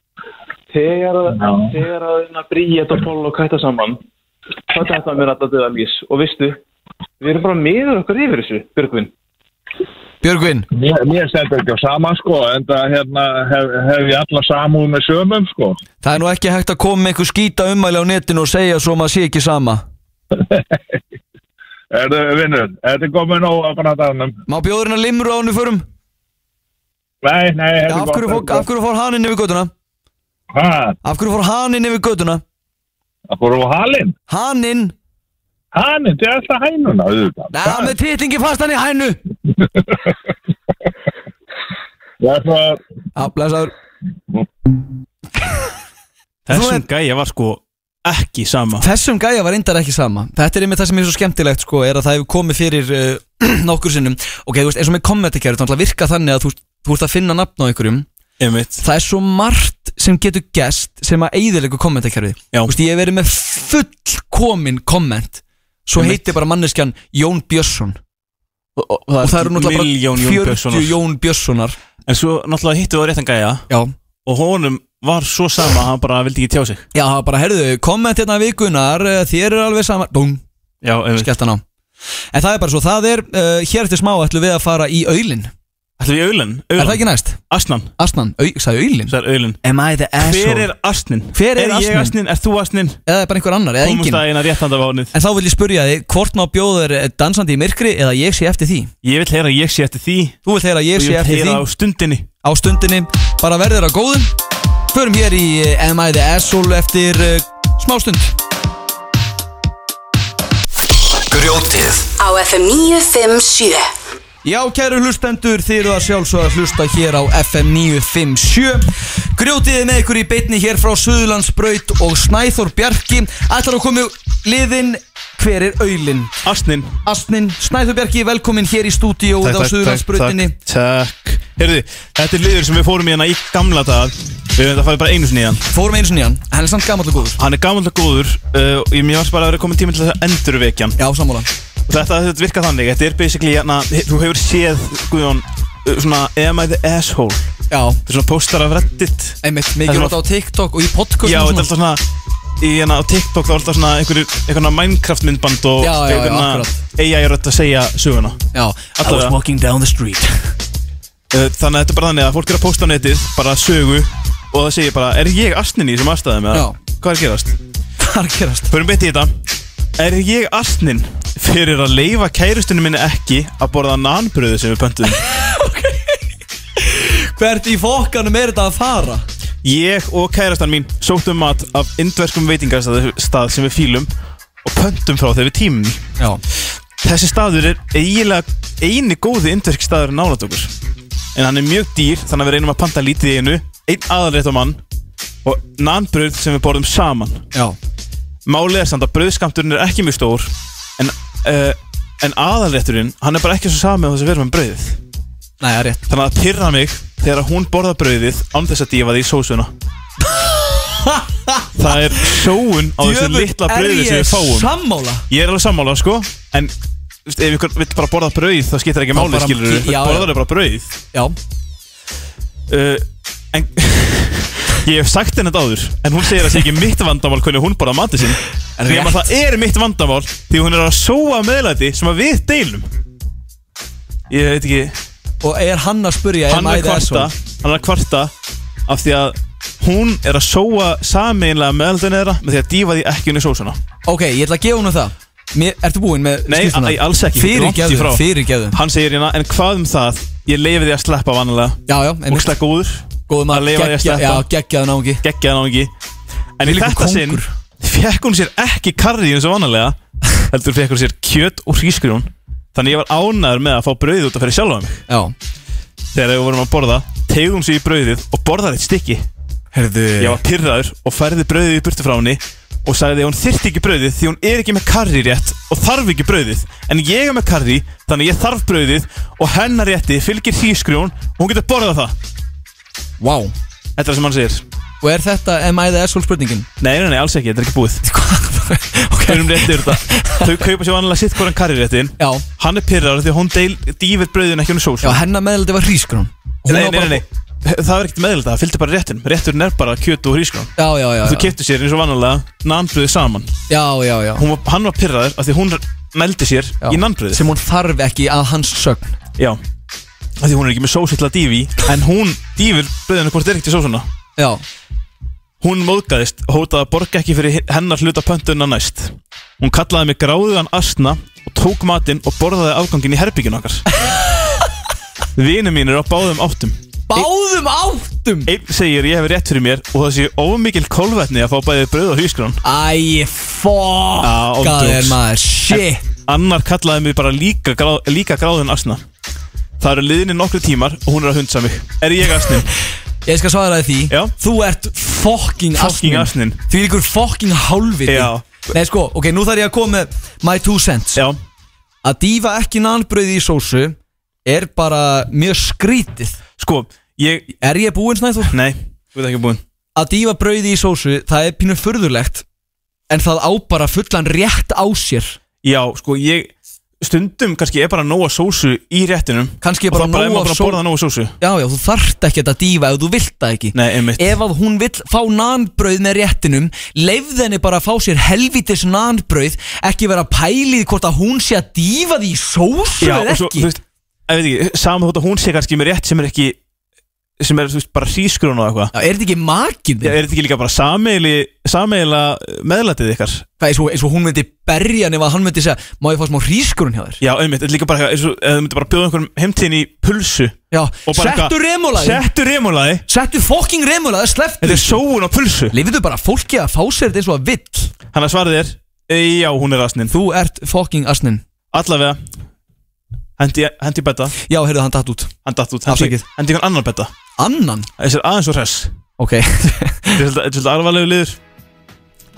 K: Þegar að,
G: Já.
K: þegar að reyna að bríja þetta pól og kæta saman þá er þetta mér alltaf döða mís Og veistu, við erum bara miður okkur yfir þessu, Björgvin
B: Björgvin
G: Mér, mér stendur ekki á sama sko en það hérna hef, hef ég alla samúð með sömum sko
B: Það er nú ekki hægt að koma með einhver skýta ummæli á netinu Og segja svo maður sé ekki sama
G: Erðu vinnur, þetta er komið nóg að brandanum
B: Má bjóðurinn að limru á hennu förum?
G: Nei, nei, þetta
B: Já, af, hverju fór, af hverju fór hann inn yfir göduna?
G: Hvað?
B: Af hverju fór hann inn yfir göduna?
G: Af hverju fór halinn?
B: Hanninn
G: Hanninn, þetta er alltaf hænuna auðvitað
B: Nei, hann með titlingi fast hann í hænu
G: Það er það
B: Já, blessaður
C: Þessum gæja var sko ekki sama
B: Þessum gæja var reyndar ekki sama Þetta er einmitt það sem er svo skemmtilegt sko Er að það hefur komið fyrir uh, nokkur sinnum Ok, þú veist, eins og með kommentarkerfi Það er náttúrulega virka þannig að þú, þú ert að finna nafn á einhverjum
C: Einmitt.
B: Það er svo margt sem getur gest Sem að eigðilegu kommentarkerfi Þú veist, ég hef verið með fullkomin komment Svo
C: Einmitt.
B: heitir bara manneskjan Jón Björnsson Og, og, og það eru náttúrulega
C: Milljón Jón
B: bara 40
C: Björnssonar.
B: Jón Björnssonar
C: En svo náttúrulega hittu við á réttan gæja
B: Já
C: Og honum var svo sama að hann bara vildi ekki tjá sig
B: Já, það var bara, herðu, komment hérna vikunar eh, Þér er alveg sama Búm,
C: Já, einmitt
B: skellt hann á En það er bara svo, það er uh, Hér eftir smá ætlum við að fara í Öylin
C: Ætlum við Aulan?
B: Er það ekki næst?
C: Asnan
B: Asnan, au, sagði Öylin
C: Það er Aulan
B: Am I the asshole?
C: Hver er Asnin?
B: Hver er
C: ég
B: asninn?
C: Asnin? Er þú Asnin?
B: Eða er bara einhver annar, eða
C: Komumst
B: engin
C: að eina réttandavánið
B: En þá vil ég spurja þig, hvort má bjóður dansandi í myrkri eða ég sé eftir því?
C: Ég vil heyra að ég sé eftir því
B: Þú vil heyra að ég
C: Og
B: sé
C: Ég
B: eftir
C: vil heyra á
B: því
C: stundinni
B: á stundinni Bara verður að góðum Förum hér í eh, Am I the asshole eftir uh, smástund
D: Grjótið
A: Á FM 957
B: Já, kæru hlustendur, þið eru að sjálfsögða að hlusta hér á FM 957 Grjótiði með ykkur í beinni hér frá Suðurlandsbraut og Snæþór Bjarki Ætlar að koma liðin, hver er auðlin?
C: Asnin
B: Asnin, Snæþór Bjarki, velkomin hér í stúdíóið á Suðurlandsbrautinni
C: Takk, takk Heyrðu, þetta er liður sem við fórum í hana í gamla dag Við höfum þetta farið bara einu sinni í hann
B: Fórum einu sinni í hann, hann er samt gamall og góður
C: Hann er gamall og góður uh, og Ég mér varst bara að vera komin tíma til þess að endurvekja hann
B: Já, sammála
C: Þetta, þetta virkar þannig, þetta er basically hana, Þú hefur séð, Guðjón, uh, svona Am I the asshole?
B: Já
C: Þetta er svona póstar af Reddit
B: Einmitt,
C: Þetta
B: mikið
C: er
B: nota á TikTok og í podcast
C: Já, þetta er alltaf svona í hérna á TikTok þá er alltaf svona einhverjir einhverjana Minecraft myndband og
B: Já, já, já,
C: einhverjana
B: akkurat.
C: AI rödd að segja söguna
B: Já, I was walking down the street
C: Eh, Þannig að þetta er bara þannig að fólk er að posta á netið bara sögu og það segir bara er ég astnin í þessum aðstæðum eða hvað er að gerast?
B: Hvað er að gerast?
C: Förum beint í þetta Er ég astnin fyrir að leifa kærustunum minni ekki að borða nanbröðu sem við pöntuðum?
B: Hvert í fokkanum er þetta að fara?
C: Ég og kærastan mín sóttum mat af indverskum veitingastað sem við fýlum og pöntum frá þegar við tímum í.
B: Já.
C: Þessi staður er eiginlega eini góði indversk staður nálat okkur en hann er mjög dýr þannig að við reynum að panta lítið í einu einn aðalrétt á mann og nanbröð sem við borðum saman
B: Já.
C: Málið er samt að brauðskamturinn er ekki mjög stór en, uh, en aðalrétturinn hann er bara ekki svo samið á þess að við erum með brauðið
B: Nei, það er rétt
C: Þannig að pyrra mig þegar að hún borða brauðið án þess að dífa því í sósuna Það er sóun á þessu
B: Djöfull,
C: litla
B: er
C: brauði sem
B: ég
C: við fáum
B: sammála?
C: Ég er alveg sammála sko En þú veist, ef ykkur vill bara borða brauð þá skiptir ekki
B: Þá
C: máli
B: bara-
C: skilur
B: já, já.
C: Borðar er bara brauð
B: Já
C: uh, En Ég hef sagt henni þetta áður En hún segir að það sé ekki mitt vandamál hvernig hún borða mati sinn
B: Er
C: Því að
B: rétt.
C: það er mitt vandamál Því hún er að sóa meðlæti sem að við deilum Ég veit ekki
B: Og er hann að spurja
C: hann er að kvarta hann er að kvarta af því að hún er að sóa sameinlega meðaldin þeirra með því að dífa því ekki inn í sósuna
B: Ok, ég ætla að gefa hún það Mér, Ertu búinn með
C: nei,
B: skýrsluna?
C: nei, alls ekki
B: Fyrirgefðu, fyrirgefðu
C: hann segir hérna, en hvað um það ég leifi því að sleppa vanalega
B: Já, já,
C: og slekka úður
B: góðum
C: að leifa því að
B: geggja-
C: sleppa
B: já, geggjaðu náungi
C: geggjaðu náungi en í
B: Þvílíkur
C: þetta sinn
B: kóngur.
C: fekk hún sér ekki karri eins og vanalega heldur fekk hún sér kjöt og hrísgrjón þannig ég var ánæður með að fá brauð út að fyrir sjálfa mig
B: já.
C: þegar við vorum að borða tegum sér í brauðið og borðar eitt stykki
B: Herðu
C: Ég var pyrraður og færði brauðið í burtu frá henni og sagði að hún þyrfti ekki brauðið því hún er ekki með karri rétt og þarf ekki brauðið en ég er með karri þannig að ég þarf brauðið og hennar rétti fylgir hrískrjón og hún getur borðað það
B: Vá wow.
C: Þetta er það sem hann segir
B: Og er þetta Am I the asshole spurningin?
C: Nei, nei, nei, alls ekki, þetta er ekki búið okay. Hverjum réttir þetta? Þau kaupa sér vanlega sitt hvoran karri réttin
B: Já
C: Hann er pyrraður því að hún deil, dýfir brauðin ekki hún sós
B: Já, hennar meðaldi var hrísgrón
C: Nei, nei, nei, nei Það er ekkert meðlega, það fylgdi bara réttin Rétturinn er bara kjöt og hrískrón
B: Já, já, já,
C: Þú
B: já.
C: keftu sér eins og vanlega nanbröði saman
B: Já, já, já
C: Hún var, Hann var pyrraður af því hún meldi sér
B: Já.
C: í nanbröði
B: Sem hún þarf ekki að hans sögn
C: Já af Því hún er ekki með sósu til að dífi En hún dífur bröðinu hvort er ekkert í sósuna
B: Já
C: Hún móðgæðist og hótaði að borga ekki fyrir hennar hluta pöntunna næst Hún kallaði mig gráðugan asna og tók matinn og borðaði afgangin í herbygginu okkar Vini mín er á báðum áttum
B: Báðum áttum
C: Einn segir ég hef rétt fyrir mér og það sé ómikil kolvetni að fá bæði bröð og hýskrón
B: Æ,
C: Ah,
B: fokka þér maður Shit
C: Annar kallaði mig bara líka, grá, líka gráðin asna Það eru liðinni nokkru tímar og hún er að hundsa mig Er ég asnin?
B: Ég skal svara þér því Já. Þú ert fucking
C: Fucking
B: asnin
C: asninn.
B: Því líkur fucking hálfviti
C: Já.
B: Nei sko, ok, nú þarf ég að koma með my two cents
C: Já.
B: Að dýfa ekki nanbröði í sósu er bara mjög skrítið
C: Sko, ég
B: Er ég búinn snæðu?
C: Nei, þú ert ekki búinn
B: Að dýfa brauði í sósu, það er pínu furðulegt En það á bara fullan rétt á sér
C: Já, sko, ég stundum kannski er bara nóga sósu í réttinum
B: Kannski er
C: Og
B: bara
C: þá bara er
B: nóg
C: maður
B: af
C: bara að
B: só-
C: borða nóga sósu
B: Já, já, þú þarft ekki að dýfa ef þú vilt það ekki
C: Nei, einmitt
B: Ef að hún vill fá nanbrauð með réttinum Leifð henni bara að fá sér helvitis nanbrauð Ekki vera pælið hvort að hún sé að dýfa því í sósu
C: Já,
B: eða
C: og svo,
B: ekki
C: þú veist, ég veit ekki, saman þótt að hún sé kannski með rétt sem er ekki sem er, þú veist, bara hrísgrón og eitthvað
B: Já, er þetta ekki makin
C: Já, er þetta ekki líka bara sameili sameila meðlætið ykkar?
B: Hvað, eins og, eins og hún myndi berja hann ef að hann myndi segja Má ég fá smá hrískurinn hjá þér
C: Já, einmitt, þetta er líka bara eitthvað, eins og ef þú myndir bara bjóða einhverjum heimtíðin í pulsu
B: Já,
C: og bara
B: settu
C: eitthvað-
B: remulaði
C: Settu remulaði
B: Settu fokking remulaði, slepptu
C: Þetta er sóun á pulsu
B: Leifðu bara fólki að fá sér þetta eins og að vill
C: Hann að svarið er, e, já, hún er asnin
B: Þú ert fokking asnin
C: Allavega, hendi, hendi í betta
B: Já, heyrðu, hann datt út
C: Hann datt út, hendi,
B: Afsakið.
C: hendi einhvern annan betta
B: Annan?
C: Þessi er aðeins og hress
B: Ok
C: Þetta er svolítið- þetta er svolítið alvarlegu liður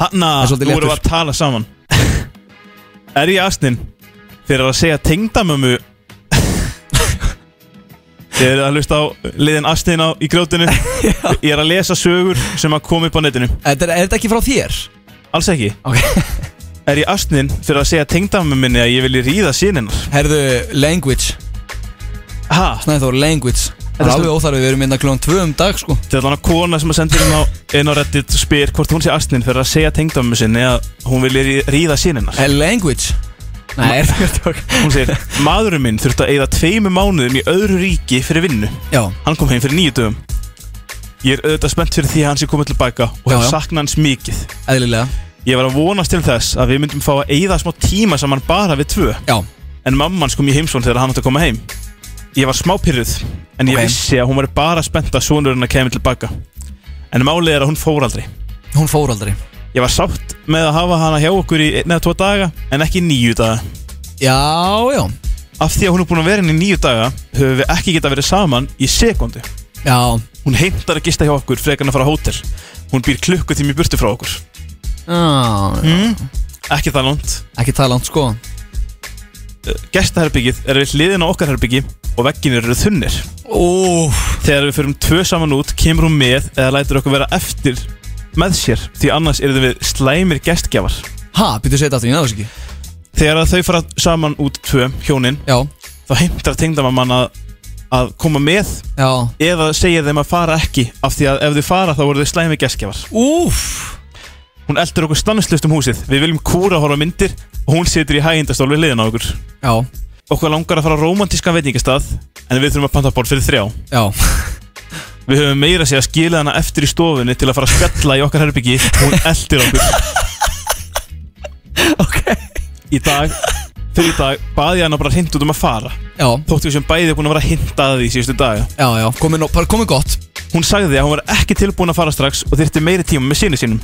C: Hanna,
B: Það er svolítið
C: þú voru
B: léttur.
C: að tala saman Er ég asnin fyrir að segja tengdamömmu Þið eru að hlusta á liðin Astin á í grjótinu Ég er að lesa sögur sem að koma upp á netinu
B: Er, er þetta ekki frá þér?
C: Alls ekki okay. Er ég Astin fyrir að segja tengdamum minni að ég vilji ríða síninnar?
B: Herðu, language
C: Ha?
B: Snæður, language Það
C: Þetta
B: er
C: er
B: alveg óþarfi, við erum innan klón 2 um dag sko
C: Þetta er hann að kona sem að sendir inn á, inn á Reddit og spyr hvort hún sé Astin fyrir að segja tengdamum sinni að hún vilji ríða síninnar
B: Er language? Nei, er það tók
C: Hún segir, maðurinn minn þurfti að eyða tveimu mánuðum í öðru ríki fyrir vinnu
B: Já
C: Hann kom heim fyrir nýju dögum Ég er auðvitað spennt fyrir því að hann sé komið tilbaka og
B: Já,
C: hef
B: já.
C: saknað hans mikið
B: Eðlilega
C: Ég var að vonast til þess að við myndum fá að eyða smá tíma saman bara við tvö
B: Já
C: En mamman kom í heimsvon þegar hann átti að koma heim Ég var smá pyrruð En ég
B: Ok.
C: vissi að hún var bara spennt að sonurinn að kemur tilbaka En málið er að hún fór aldrei
B: Hún fór aldrei
C: Ég var sátt með að hafa hana hjá okkur í einn eða tvo daga En ekki níu daga
B: Já, já
C: Af því að hún er búin að vera inn í níu daga Höfum við ekki getað verið saman í sekundu
B: Já
C: Hún heimtar að gista hjá okkur frekar en að fara á hótel Hún býr klukku tími burtu frá okkur
B: Já,
C: mm. Ekki það langt
B: Ekki það langt sko
C: Gestaherbyggið er við hliðin á okkar herbyggi Og vegginir eru þunnir
B: Óf
C: Þegar við förum tvö saman út Kemur hún með eða lætur okkur vera eftir Með sér Því annars eru við slæmir gestgjafar
B: Ha, býttu að segja þetta aftur, ég náðu þess ekki
C: Þegar að þau fara saman út tvö hjónin
B: Já
C: Þá heimtar tengdamann að, að koma með
B: Já
C: Eða segja þeim að fara ekki Af því að ef þau fara þá voru þau slæmir gestgjafar
B: Úf
C: Hún eldur okkur stannislust um húsið Við viljum kúra horfa á myndir Og hún situr í hægindastól við hliðina á okkur
B: Já
C: Okkur langar að fara á romantískan veitingastað En við þurfum að panta bort fyrir þrjá
B: Já
C: Við höfum meira að segja skilið hana eftir í stofunni Til að fara að spjalla í okkar herbyggi og Hún eldur okkur Ok Í dag, fyrir í dag Baði hana bara hint út um að fara
B: Já
C: Þóttu við sem bæði búin að vera að hinta að því síðustu daga
B: Já, já, komið, nó- bara komið gott
C: Hún sagði að hún var ekki tilbúin að fara strax og þyrfti meiri tíma með sínu sínum.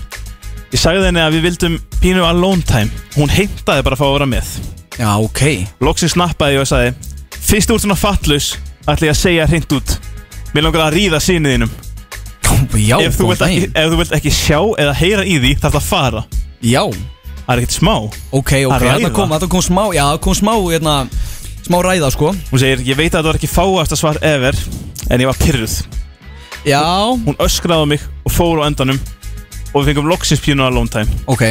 C: Ég sagði henni að við vildum pínu alone time. Hún heimtaði bara að fá að vera með.
B: Já, ok.
C: Loksin snappaði ég og sagði, fyrst úr svona fattlaus ætla ég að segja hreint út. Mér langar að ríða sínu þínum.
B: Já,
C: ef
B: góðan
C: þú, vilt ekki,
B: daginn.
C: ef þú vilt ekki sjá eða heyra í því þarf það að fara.
B: Já.
C: Það er ekkert smá.
B: Ok, ok,
C: Að ræða.
B: þetta kom, þetta kom smá, já, það kom smá, hérna, smá ræða, sko.
C: Hún segir, ég veit að það var ekki fáast að svar ever, en ég var pyrruð.
B: Já.
C: Hún öskraði á mig og fór á endanum og við fengum loksins pínu alone time.
B: Ok.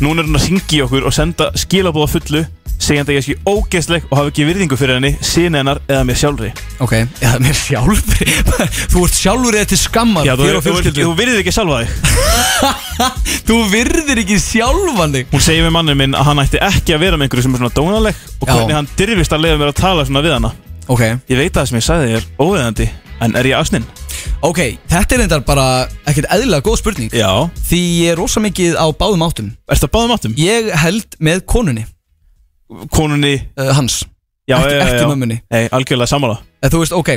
C: Núna er hún að ringi okkur og senda skilabóða fullu segjandi að ég sé ógeðsleg og hafi ekki virðingu fyrir henni, síni hennar eða mér sjálfri
B: Ok, já, mér sjálfur, þú ert sjálfur eða til skammar,
C: Já, þú,
B: þér og
C: þú, þú,
B: fjölskyldu.
C: þú virðir ekki sjálfa þig
B: Þú virðir ekki sjálfan þig
C: Hún segir við mannum minn að hann ætti ekki að vera með einhverju sem er svona dónaleg og
B: Já.
C: hvernig hann dyrfist að leiða mér að tala svona við hana
B: Ok,
C: Ég veit að það sem ég sagði er óveðandi en er ég ásninn?
B: ok, þetta er reyndar bara ekkert eðlilega góð spurning.
C: Já
B: Því ég er rosa mikið á báðum áttum.
C: Ertu á báðum áttum?
B: Ég held með konunni,
C: Konunni
B: uh, hans.
C: Já,
B: ekki,
C: já, já,
B: ekki
C: já.
B: mömmunni.
C: Nei, algjörlega sammála
B: Eða þú veist, ok,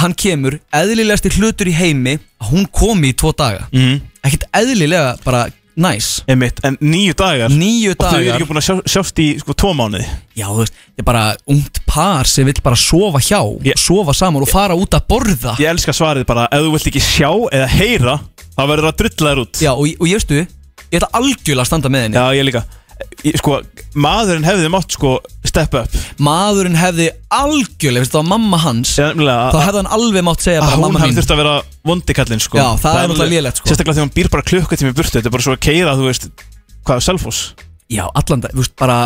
B: hann kemur eðlilegasti hlutur í heimi að hún komi í tvo daga
C: mm.
B: Ekkert eðlilega bara næs
C: Einmitt, en níu dagar
B: Níu
C: Og þau eru
B: dagar
C: ekki búin að sjá, sjást í sko tvo mánuði
B: Já, þú veist, ég er bara ungt par sem vill bara sofa hjá Sofa saman og fara út að borða
C: Ég elska svarið bara, ef þú vilt ekki sjá eða heyra þá verður það drullar út
B: Já, og, og ég veistu, ég ætla algjörlega að standa með henni
C: Já, ég líka Ég- Sko, maðurinn hefði mátt sko step up
B: Maðurinn hefði algjörlega, veist, það var mamma hans
C: Já, nefnilega
B: Þá hefði hann alveg mátt segja
C: að
B: bara
C: hún
B: mamma
C: hefði
B: mín
C: þurft að vera vondikallinn sko
B: Já, það er náttúrulega
C: alveg-
B: lélegt, sko.
C: Sérstaklega þegar hún býr bara klukkutími í burtu Þetta er bara svo að keira, þú veist, hvað er selfos
B: Já, allan það, þú veist, bara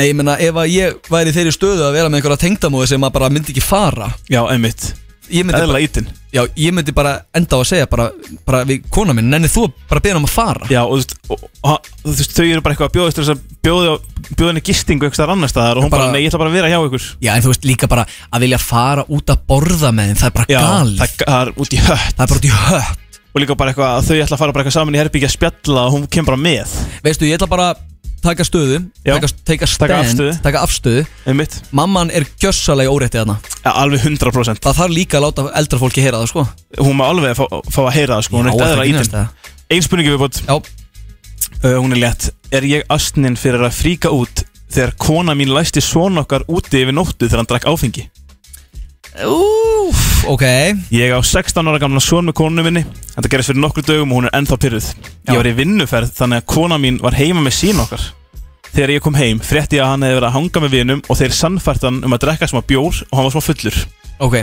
B: Nei, ég meina, ef að ég væri í þeirri stöðu að vera með einhverja tengdamóði sem að bara myndi ekki fara
C: Já, einmitt
B: Ég myndi bara-
C: Eðla ítinn
B: Já, ég myndi bara enda á að segja bara, bara við kona minn, nenni þú bara beðin um að fara
C: Já, og þú veist, og, og, þú veist, þau eru bara eitthvað að bjóða þess að bjóða, bjóða henni gistingu einhvers staðar annar staðar og hún bara,
B: Bara-
C: nei, ég ætla bara að vera hjá ykkur
B: Já, en þú veist líka bara að vilja fara út að borða með þeim, það er bara
C: Já,
B: galið
C: það, það er út í hött
B: Það er bara út í hött
C: Og líka bara eitthvað að þau ætla að fara bara eitthvað saman í herbyggja að spjalla og hún kemur bara með
B: Veistu, ég ætla bara að taka stöðu,
C: Já.
B: taka, taka stand,
C: afstöðu.
B: taka afstöðu
C: Einmitt
B: Mamman er gjössalega óréttið þarna
C: ja, Alveg 100%
B: Það þarf líka að láta eldra fólki heyra það, sko
C: Hún má alveg fá, fá að heyra það sko,
B: Já,
C: hún er
B: það
C: eitthvað
B: er
C: eðla
B: grínast,
C: ítinn Einn spurningi við bótt
B: Já
C: uh, Hún er létt Er ég astnin fyrir að fríka út Þegar kona mín læsti svona okkar úti yfir nóttu Þegar hann drakk áfengi
B: Úf, ok
C: Ég á 16 ára gamla son með konu minni Þetta gerist fyrir nokkru dögum og hún er ennþá pyrruð Ég var í vinnuferð þannig að kona mín var heima með sín okkar Þegar ég kom heim frétti ég að hann hefði verið að hanga með vinum Og þeir sannfært hann um að drekka smá bjór Og hann var smá fullur
B: Ok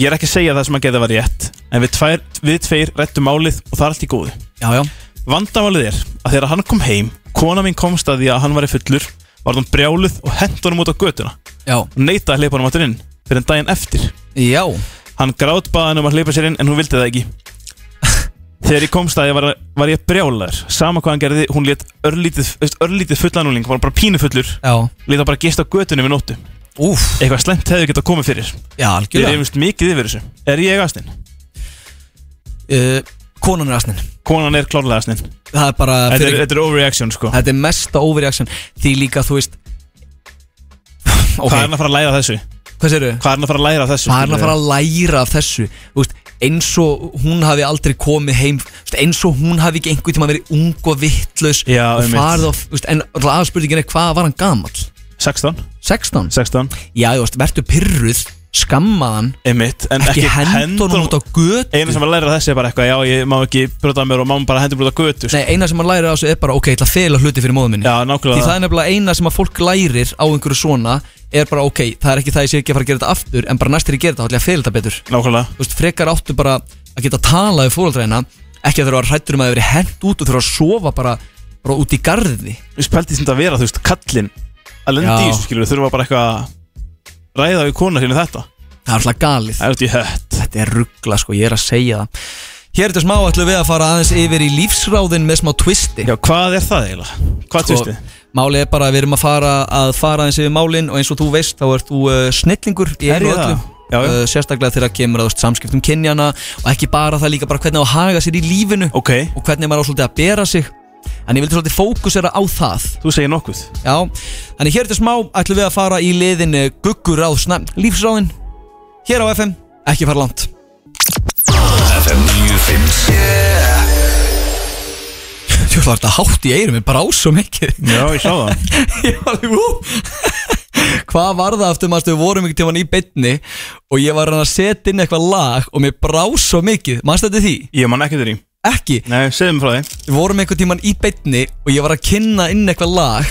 C: Ég er ekki að segja það sem að geða var rétt En við, tvær, við tveir rettum málið og það er allt í góðu
B: Já, já
C: Vandamálið er að þegar hann kom heim Kona mín komst að því að hann var í fullur Var hann brjáluð og hent honum út á götuna
B: Já
C: Og neitaði að hleypa honum áttur inn Fyrir en daginn eftir
B: Já
C: Hann grátbaði hann um að hleypa sér inn en hún vildi það ekki Þegar ég komst að ég var, var ég brjálaður Sama hvað hann gerði, hún létt örlítið, veist, örlítið fullanúling Var bara pínufullur
B: Já
C: Létt að bara gista á götunum við nóttu
B: Úf.
C: Eitthvað slæmt hefði getað komið fyrir
B: Já, algjörlega.
C: Ég reyfist mikið yfir þessu Er ég asnin?
B: Uh, konan er asnin
C: Konan er klárlega asnin
B: Það er bara
C: Þetta er- þetta er overreaction sko
B: Þetta er mesta overreaction Því líka þú veist
C: Hvað er hann að fara að læra af þessu?
B: Hvað serðu?
C: Hvað er hann að fara að læra af þessu?
B: Hvað er hann að fara að læra af þessu Þú veist, eins og hún hafi aldrei komið heim þú veist, eins og hún hafi ekki einhvern tíma verið ung og vittlaus
C: Já,
B: og
C: einmitt.
B: farið og, þú veist, en aðspurningin er hvað var hann gamall
C: 16
B: 16?
C: 16
B: Já, þú veist, verður pyrruð skammaðan
C: Einmitt, en
B: ekki,
C: ekki
B: ekki
C: henda
B: hendunum
C: honum-
B: út á götu
C: Einu sem að læra af þessu er bara eitthvað Já, ég má ekki brjóta af mér og mamma bara hendur brjóta götu sko.
B: Nei, eina sem hann lærir á þessu er bara, ok, ég ætla að fela hluti fyrir móðum minni
C: Já, nákvæmlega
B: Því það er nefnilega eina sem að fólk lærir á einhverju svona Er bara, ok, það er ekki það ég sé ekki að fara að gera þetta aftur En bara næstir ég gera þetta, þá ætla ég að fela þetta betur
C: Nákvæmlega
B: Þú veist, frekar áttu bara að geta talað við fólaldræðina Ekki að þurfa að hrættur um að það verið hent út og þurfa að sofa bara, bara út í garði
C: Þú spælti sem þetta að vera, þú veist, kallinn að lendi í
B: Já.
C: þessu skilur, þurfa bara eitthvað að ræða við kona sinni þetta
B: Það er alltaf galið
C: Það er út í hött
B: Þetta er ruggla sko, ég er að segja það Hér er þetta smá ætlum við að fara aðeins yfir í lífsráðin með smá twisti Sko,
C: Já, hvað er það eiginlega? Hvað twistið?
B: Málið er bara að við erum að fara, að fara aðeins yfir málin og eins og þú veist þá ert þú uh, snillingur í
C: Er
B: einu
C: ég
B: og
C: það?
B: öllu
C: Já, já.
B: Uh, sérstaklega þegar kemur að þú veist, samskiptum kynjana og ekki bara það líka bara hvernig á að haga sér í lífinu
C: okay.
B: og hvernig maður á svolítið að bera sig en ég vildi svolítið fókusera á það
C: Þú segir nokkuð
B: Já, þannig hér til smá ætlum við að fara í liðin guggur á lífsráðin hér á FM, ekki fara langt
D: FM 957
B: Þú var þetta hátt í eyrum, ég brá svo mikið
C: Já, ég sá það
B: Ég var alveg, ú Hvað var það aftur maður, við vorum einhvern tímann í bytni og ég var hann að setja inn eitthvað lag og mér brá svo mikið, mannst þetta því?
C: Ég man ekki þér í
B: Ekki?
C: Nei, segðu mér frá því
B: Við vorum einhvern tímann í bytni og ég var að kynna inn eitthvað lag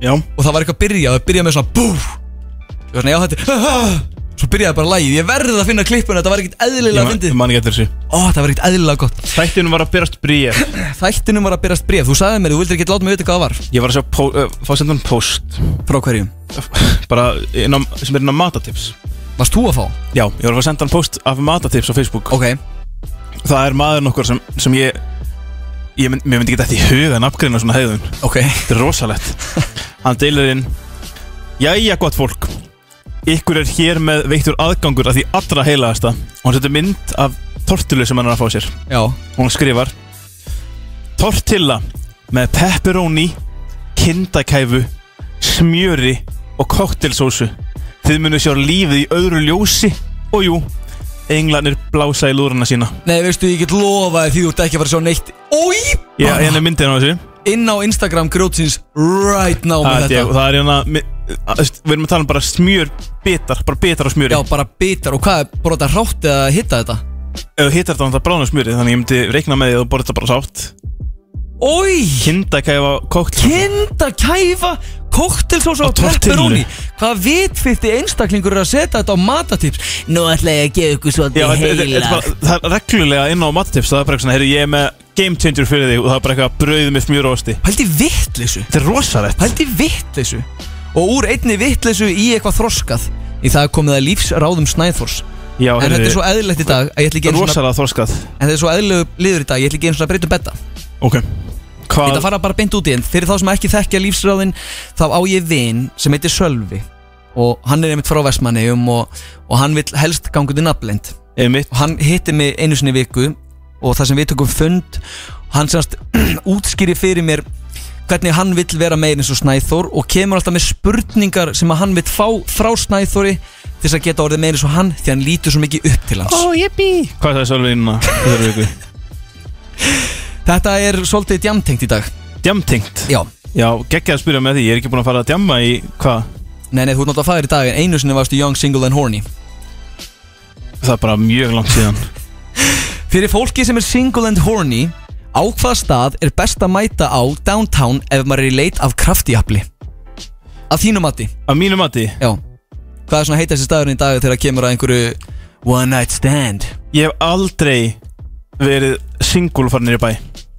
C: Já
B: og það var eitthvað að byrja, það byrjaði með svona bú Ég var svona, já þetta er Svo byrjaði bara lagið, ég verði að finna klippuna, þetta var ekkert eðlilega
C: Ég man-
B: fyndið
C: Ég man ekki eftir þessu
B: Ó, það var ekkert eðlilega gott
C: Þættinum var að byrjast bríð
B: Þættinum var að byrjast bréf, þú sagði mér, þú vildir ekki láta mig vita hvað það var
C: Ég var að sjá pó, uh, fá sendan post
B: Frá hverjum?
C: Bara inn á, sem er inn á matatips
B: Varst þú að fá?
C: Já, ég var að fá sendan post af matatips á Facebook
B: Ok
C: Það er maður nokkur sem, sem ég Ég mynd, mér myndi ekki þetta í huga en afgreina svona hegðun
B: Ok
C: Þetta er rosalegt Hann deilir inn Jæja gott fólk Ykkur er hér með veittur aðgangur að því allra heilaðasta Og hann setur mynd af tortilu sem hann er að fá sér
B: Já
C: Og hann skrifar Tortilla með pepperoni, kindakæfu, smjöri og koktelsósu Þið munu sjá lífið í öðru ljósi Og jú, englarnir blása í lúrana sína
B: Nei, veistu, ég get lofaði því þú ert ekki að fara að sjá neitt Ói!
C: Ég, ég er myndin á þessu
B: Inn á Instagram grótsins right now
C: Það
B: með
C: er ég, og
B: þetta
C: það er hérna mi- að- þú veist, Við erum að tala um bara smjör bitar Bara bitar á smjöri
B: Já, bara bitar og hvað er brota rátt eða hitta þetta?
C: Ef þú hittar þetta, þá bráðnar smjörið Þannig ég myndi reikna með því að þú borðir þetta bara sátt
B: Ói!
C: Kindakæfa kókt
B: Kinda kæfa Koktelsósa og pepperoni Hvað vitfitti einstaklingur er að setja þetta á matatips Nú ætla ég að gefa ykkur
C: Já,
B: svolítið
C: þetta- þetta- þetta er
B: heila
C: bara- það er reglulega inn á mattips Það er bara eitthvað svona, heyrðu, ég er með game changer fyrir þig Og það er bara eitthvað brauð með smjör og osti
B: Pældi vittlisu
C: Þetta er rosalegt
B: Pældi vittlisu Og úr einni vittlisu í eitthvað þroskað Í það er komið að lífsráðum snæðfors
C: Já,
B: En þetta er svo eðlilegt í dag að ég ætla ekki einu svona,
C: Rosalega þorskað
B: En þetta er svo eðlilegu liður í dag Ég ætla ekki einu svona að breyta um betta Ég
C: Ok
B: ætla að
C: Hvað
B: fara bara beint út í en Fyrir þá sem ekki þekkja lífsráðin Þá á ég vin sem heitir Sölvi Og hann er einmitt frá Vestmanneum Og, og hann vil helst ganga út í nafnlend
C: er mitt?
B: og hann hitti mig einu sinni í viku og það sem við tökum fund og hann semast útskýri fyrir mér hvernig hann vill vera meir eins og Snæþór og kemur alltaf með spurningar sem að hann vill fá frá Snæþóri til þess að geta orðið meir eins og hann því hann lítur svo mikið upp til hans
C: jeppi Hvað sagði Sölvi innan þessari viku?
B: Þetta er svolítið djamtengt í dag
C: Djamtengt
B: Já,
C: Já, geggjað að spyrja með því Ég er ekki búin að fara að djamma í hvað
B: nei nei þú ert náttúrulega fæður í dag en einu sinni varstu young, single and horny
C: Það er bara mjög langt síðan
B: Fyrir fólki sem er single and horny á hvaða stað er best að mæta á downtown ef maður er í leit af kraftjafli Að þínu mati,
C: Að mínu mati
B: já Hvað er svona heitast í staðurinn í dag þegar það kemur að einhverju One night stand
C: Ég hef aldrei verið singul farið niður í bæ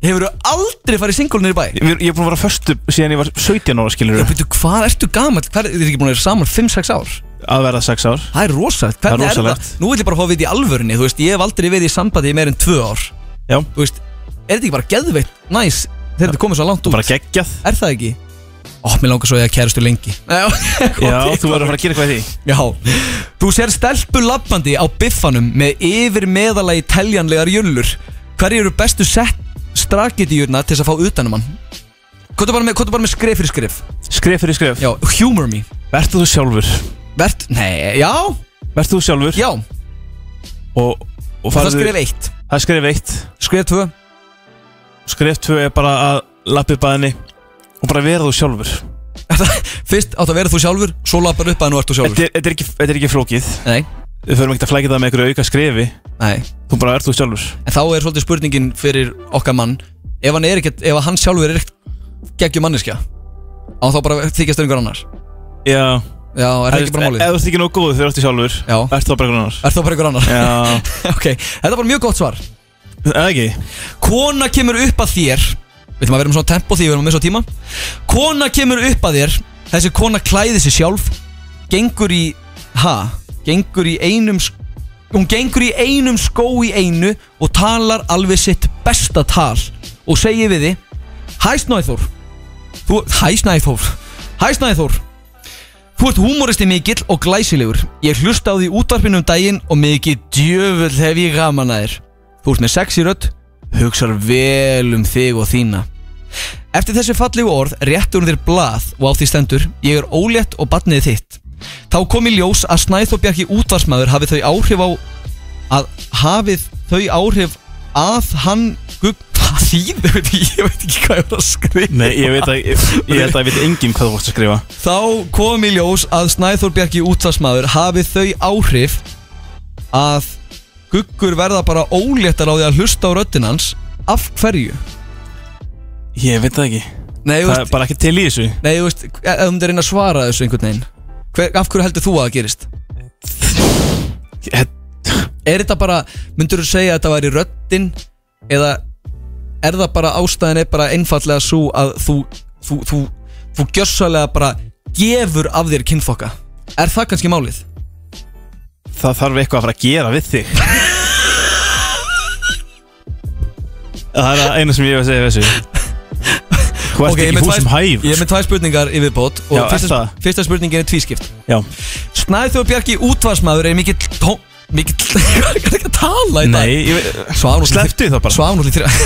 B: Hefur þú aldrei farið singul niður í bæ?
C: Ég, ég er búin að vera föstu síðan ég var 17 ára skilur
B: Þú, hvað ertu gamall? Hvað er, þið er ekki búin að vera saman 5-6 ár?
C: Að verða 6 ár
B: Það er rosalegt,
C: Það er
B: hvernig er það?
C: rosalegt.
B: Nú vil ég bara hófið í alvörunni, þú veist, ég hef aldrei verið í sambandi í meir en 2 ár
C: Já
B: Þú veist, er þetta ekki bara geðveitt, næs, þegar þetta komið svo langt út?
C: Bara geggjað
B: Er það ekki? Ó, mér langar svo að ég að kærastu lengi Já,
C: Já, þú verður að fara að gera eitthvað í því
B: Já, þú sér stelpu lappandi á biffanum með yfir meðalagi teljanlegar jöllur Hverju eru bestu sett strakitíurna til þess að fá utanum hann? Hvað er bara með, hvað er bara með skrif fyrir skrif?
C: Skrif fyrir skrif
B: Já, humor me
C: Vertu þú sjálfur
B: Vert, nei, já
C: Vertu þú sjálfur
B: Já
C: Og, og
B: Það
C: farðu-
B: skrif eitt.
C: Það er skrif eitt
B: Skrif tvö
C: Skrif tvö er bara að lappi bæðinni Og bara vera þú sjálfur
B: Fyrst átt að vera þú sjálfur, svo lappar upp að nú ert þú sjálfur
C: Þetta er- þetta er, ekki- þetta er ekki flókið
B: Nei
C: Við förum ekkert að flækja það með einhverju auka skrifi
B: Nei
C: Þú bara ert þú sjálfur
B: En þá er svolítið spurningin fyrir okkar mann Ef hann er ekkert, ef hann sjálfur er ekkert geggjum manniska Á þá bara að þykjast einhver annars
C: Já
B: Já, er það ekki bara málið?
C: Ef þú ert ekki nóg góð þegar þú ert þú sjálfur
B: Já
C: Ert það bara einhverjum annars
B: Er það bara einhver annar?
C: Já
B: Ok, þetta er bara mjög gott svar
C: Eða ekki
B: Kona kemur upp að þér Við ætlum að vera með svona tempo því við erum að missa tíma Kona kemur upp að þér Þessi kona klæði sig sjálf Gengur í, ha? Gengur í einum sk- Hún gengur í einum skó í einu Og talar alveg sitt besta tal Og segir við þið Hæ Snæþór Þú, Hæ Snæþór Hæ Snæþór Þú ert húmóristi mikill og glæsilegur Ég hlusta á því útvarpinu um daginn og mikið djöfull hef ég gaman að þér Þú ert með sexy rödd Hugsar vel um þig og þína Eftir þessi fallegu orð réttur hún þér blað og á því stendur Ég er ólétt og batnið þitt Þá kom í ljós að Snæþór Bjarki útvarsmaður hafi þau áhrif á að hafið þau áhrif að hann gugg Hvað þýður? Ég veit ekki hvað ég var að skrifa
C: Nei, ég veit að Ég, ég held að ég veit enginn hvað þú vorst að skrifa
B: Þá kom í ljós að Snæþór Bjarki útvarsmaður hafi þau áhrif að guggur verða bara óléttar á því að hlusta á röddinn hans af hverju?
C: Ég veit það ekki
B: Nei,
C: Það er bara ekki til í þessu
B: Nei, þú veist, e- ef þú myndir reyna að svara þessu einhvern veginn hver, Af hverju heldur þú að það gerist? Er þetta bara, myndir þú segja að þetta væri röddinn eða er það bara ástæðin er bara einfallega svo að þú þú, þú, þú gjössalega bara gefur af þér kynfokka Er það kannski málið?
C: Það þarf eitthvað að fara að gera við þig Það er það eina sem ég hef að segja við þessu Þú ert
B: Ok, ég er
C: ekki
B: með
C: hús
B: tvær-
C: sem hæf
B: Ég er með tvær spurningar í viðbót
C: Já,
B: og
C: er
B: fyrsta,
C: það?
B: fyrsta spurningin er tvískipt
C: Já
B: Snæþjóð Bjarki útvarsmaður er mikill tó... mikill... Hvað er ekki að tala í dag?
C: Nei, ég veit Slepptu því þá bara.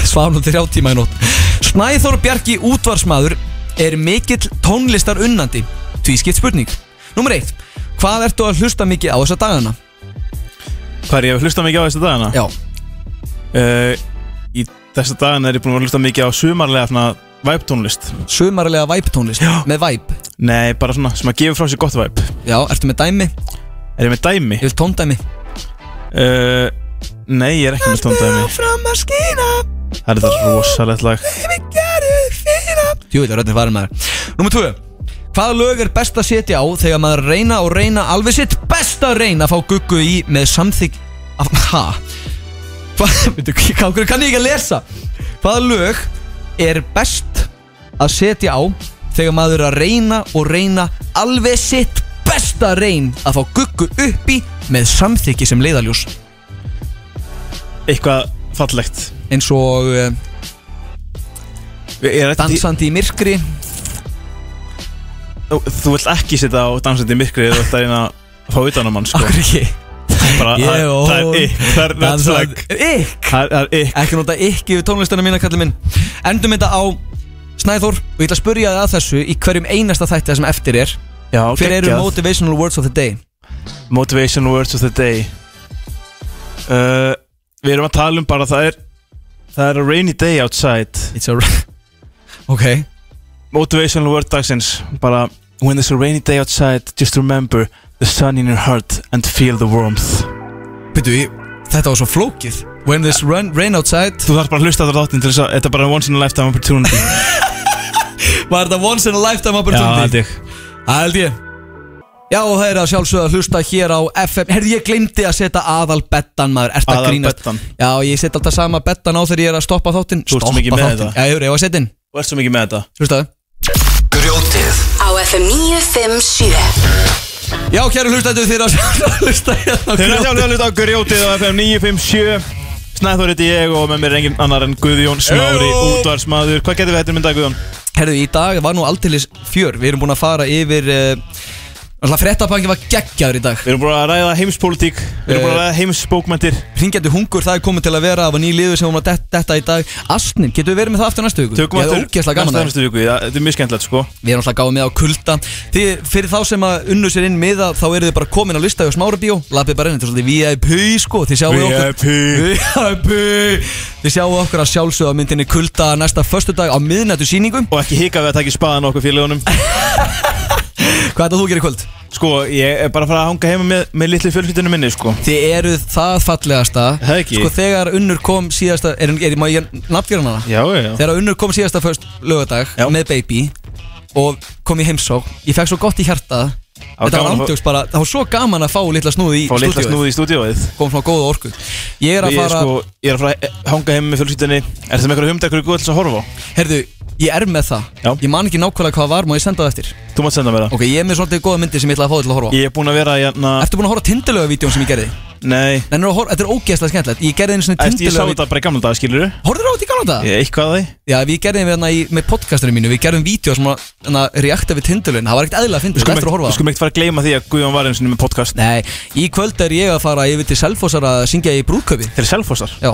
B: Sváfnúli þrjá tíma í nótt Snæþór Bjarki útvarsmaður er mikill tónlistar unnandi Því skipt spurning Númer eitt Hvað ertu að hlusta mikið á þessa dagana?
C: Hvað er ég að hlusta mikið á þessu dagana? Eh,
B: Já
C: Í þessu dagana er ég búin að vera að hlusta mikið á sumarlega svona væp tónlist
B: Sumarlega væp tónlist Já. Með væp
C: Nei, bara svona sem að gefa frá sér gott væp
B: Já, ertu með dæmi?
C: Er ég með dæmi?
B: Ég vil tóndæmi
C: uh, Nei, ég er ekki með tóndæmi
B: Fram að skýna
C: Það er þetta rosalegt lag
B: Jú, þetta er röddinn farin maður Númer tvö Hvaða lög er best að setja á þegar maður reyna og reyna alveg sitt besta reyna að fá guggu í með samþygg af, ha? Hvað, veitu, hvað, hverju kann ég ekki að lesa? Hvaða lög er best að setja á þegar maður er að reyna og reyna alveg sitt besta reyn að fá guggu upp í með samþyggi sem leiðaljós?
C: Eitthvað fallegt
B: Eins og eh, dansandi í myrkri
C: Þú, þú vilt ekki setja á dansandi í myrkri Þú vilt að reyna að fá utan á mann sko.
B: Akkur ekki
C: Bara,
B: Ég
C: það,
B: og
C: það er ykk Það er red
B: dansandi-
C: flag
B: Ykk
C: Það er ykk
B: Ekki nota ykk yfir tónlistana mína, kallið minn Endum þetta á Snæþór Og ég ætla að spurja þið að þessu Í hverjum einasta þætti það sem eftir er
C: Já,
B: Hver eru
C: geggjað.
B: motivational words of the day?
C: Motivation words of the day uh, Við erum að tala um bara Það er, það er a rainy day outside
B: It's a Ok
C: Motivational word dagsins Bara When there's a rainy day outside Just remember The sun in your heart And feel the warmth
B: Býtu, þetta var svo flókið When this run, rain outside
C: Þú þarf bara að hlusta á þetta þáttinn til þess að Þetta er bara once in a lifetime opportunity
B: Var þetta once in a lifetime
C: Já,
B: opportunity?
C: þetta er
B: Það held ég Já, og það er að sjálfsögða að hlusta hér á FM Herði, ég glemdi að setja aðal bettan, maður Ert að grínast
C: Aðalbeddann.
B: Já, ég setja alltaf sama bettan á þegar ég er að stoppa þáttinn
C: Þú ert svo
B: Stoppa
C: mikið með
B: þáttinn.
C: þetta.
B: Já, ég er að setja inn
C: Þú ert svo mikið með þetta
B: Hlustaðu
D: Grjótið
A: Á FM 957
B: Já, kæru hlustættu, þeir eru að sjálfsögða að hlusta hérna á
C: Þeir eru að
B: Grjótið.
C: sjálflega hluta á Grjótið á FM 957 Snæþór heiti ég og með mér er engin annar en Guðjón Smári
B: Ejó.
C: útvarsmaður Hvað getur við hættir mynda Guðjón?
B: Herðu, í dag var nú alltilis fjör Við erum búin að fara yfir uh, Alltaf frettapangi var geggjaður í dag
C: Við erum búin að ræða heimspólitík Við erum búin að ræða heimsbókmæntir
B: Ringjandi hungur, það er komið til að vera Það var ný liður sem við vorum að det- detta í dag Asnin, getur við verið með það aftur næstu viku?
C: Tökum
B: Ég hefði
C: aftur
B: ógeðslega gaman að
C: næsta
B: það
C: næstu viku, já, þetta er mjög skemmtilegt sko
B: Við erum alltaf gáðið með á kulda Því fyrir þá sem að unnu sér inn miða Þá eru þið bara komin á lista hjá Smára Bíó Lappið bara inn, þetta er svolítið VIP sko Þið sjáu okkur VIP Þið sjáu okkur að sjálfsögða myndinni kulda Næsta föstudag á miðnættu sýningum
C: Og ekki hika við að taka í spaðan á okkur félagunum
B: Hvað er þetta þú gerir í kvöld?
C: Sko, ég er bara að fara að hanga heima með, með litli fjölskyldinu minni sko
B: Þið eruð það fallegasta
C: Það ekki.
B: Sko þegar unnur kom síðasta Er, er, má ég nafnfjörna hana?
C: Já, já, já
B: Þegar unnur kom síðasta först lögadag Með baby Og kom í heimsók Ég fekk svo gott í hjarta Þetta
C: var
B: var
C: gaman að fá-
B: andjóks bara Það var svo gaman að fá litla snúði í
C: Fá litla
B: stúdíóið.
C: snúði í stúdíóið
B: Kom svona góða orku Ég er að
C: Ég er
B: fara
C: sko, ég er að fara að hanga heima með fjölskyldinu Er það með einhverja humdækur í góðs að horfa á?
B: Herðu, ég er með það
C: Já.
B: Ég man ekki nákvæmlega hvað það var Má ég senda það eftir
C: Þú mátt senda mér það
B: Ok, ég er með svona góða myndir sem ég ætla að fá þig til að horfa á
C: Ég er búin að vera hérna
B: Ertu búin að horfa tindilöga vídjón sem ég gerði?
C: Nei
B: Nei, nú er að horfa- Þetta er ógeðslega skemmtilegt Ég gerði einu svona
C: Eftir ég sá
B: tindilöga
C: þetta bara í gamla dag, skilur
B: Horfður á þetta í gamla dag?
C: Ég eitthvað að því
B: Já, við gerðum hérna í, með podcastinu mínu, við gerðum vídeo sem að reakta við tindulun, það var ekkert eðla að finna,
C: Við
B: sko eftir að horfa á
C: skulum ekki- við
B: það.
C: skulum ekkert fara að gleyma því að Guðjón var eins og með podcast
B: Nei, í kvöld er ég að fara yfir til Selfossar að syngja í brúðköpi.
C: Þeir eru selfossar
B: Já,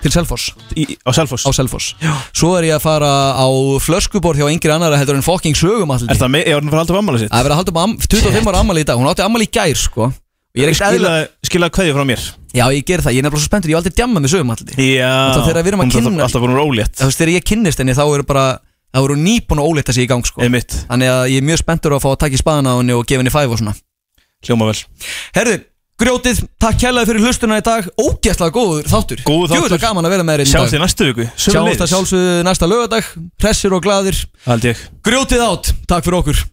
B: til Selfoss,
C: Í- á selfoss
B: á Selfoss. Já. Svo er ég að fara á flöskuborð hjá yngri annara heldur en fucking sögum allir.
C: Er það með, ég var að fara að halda á ammala sitt
B: Það er verið að halda um am, 25 ára ammali í dag, hún átti ammali í gær, sko. Og Ég er ekkert eðla...
C: Skila- Skila kveðju frá mér
B: Já, ég ger það, ég er nefnilega svo spenntur, ég hef aldrei djammað með sögum allir.
C: Já
B: Alltaf þegar við erum að
C: Hún er
B: kynna-
C: alltaf- Alltaf vorum rólétt
B: Þú veist, þegar ég kynnist henni, þá eru bara, þá eru nýbúin að óleita sig í gang, sko.
C: Eða mitt,
B: Þannig að ég er mjög spenntur að fá að taka í spaðan á henni og gefa henni fæf og svona.
C: hljóma vel
B: Herðu, grjótið, takk kærlega fyrir hlustuna í dag Ógæstlega góður þáttur
C: Góður þáttur.
B: Djúvilega gaman að vera með þér í dag
C: Sjáumst í næstu viku
B: Sjáumst að sjálfsögðu næsta lögadag Hressir og glaðir
C: Hald ég
B: Grjótið átt, takk fyrir okkur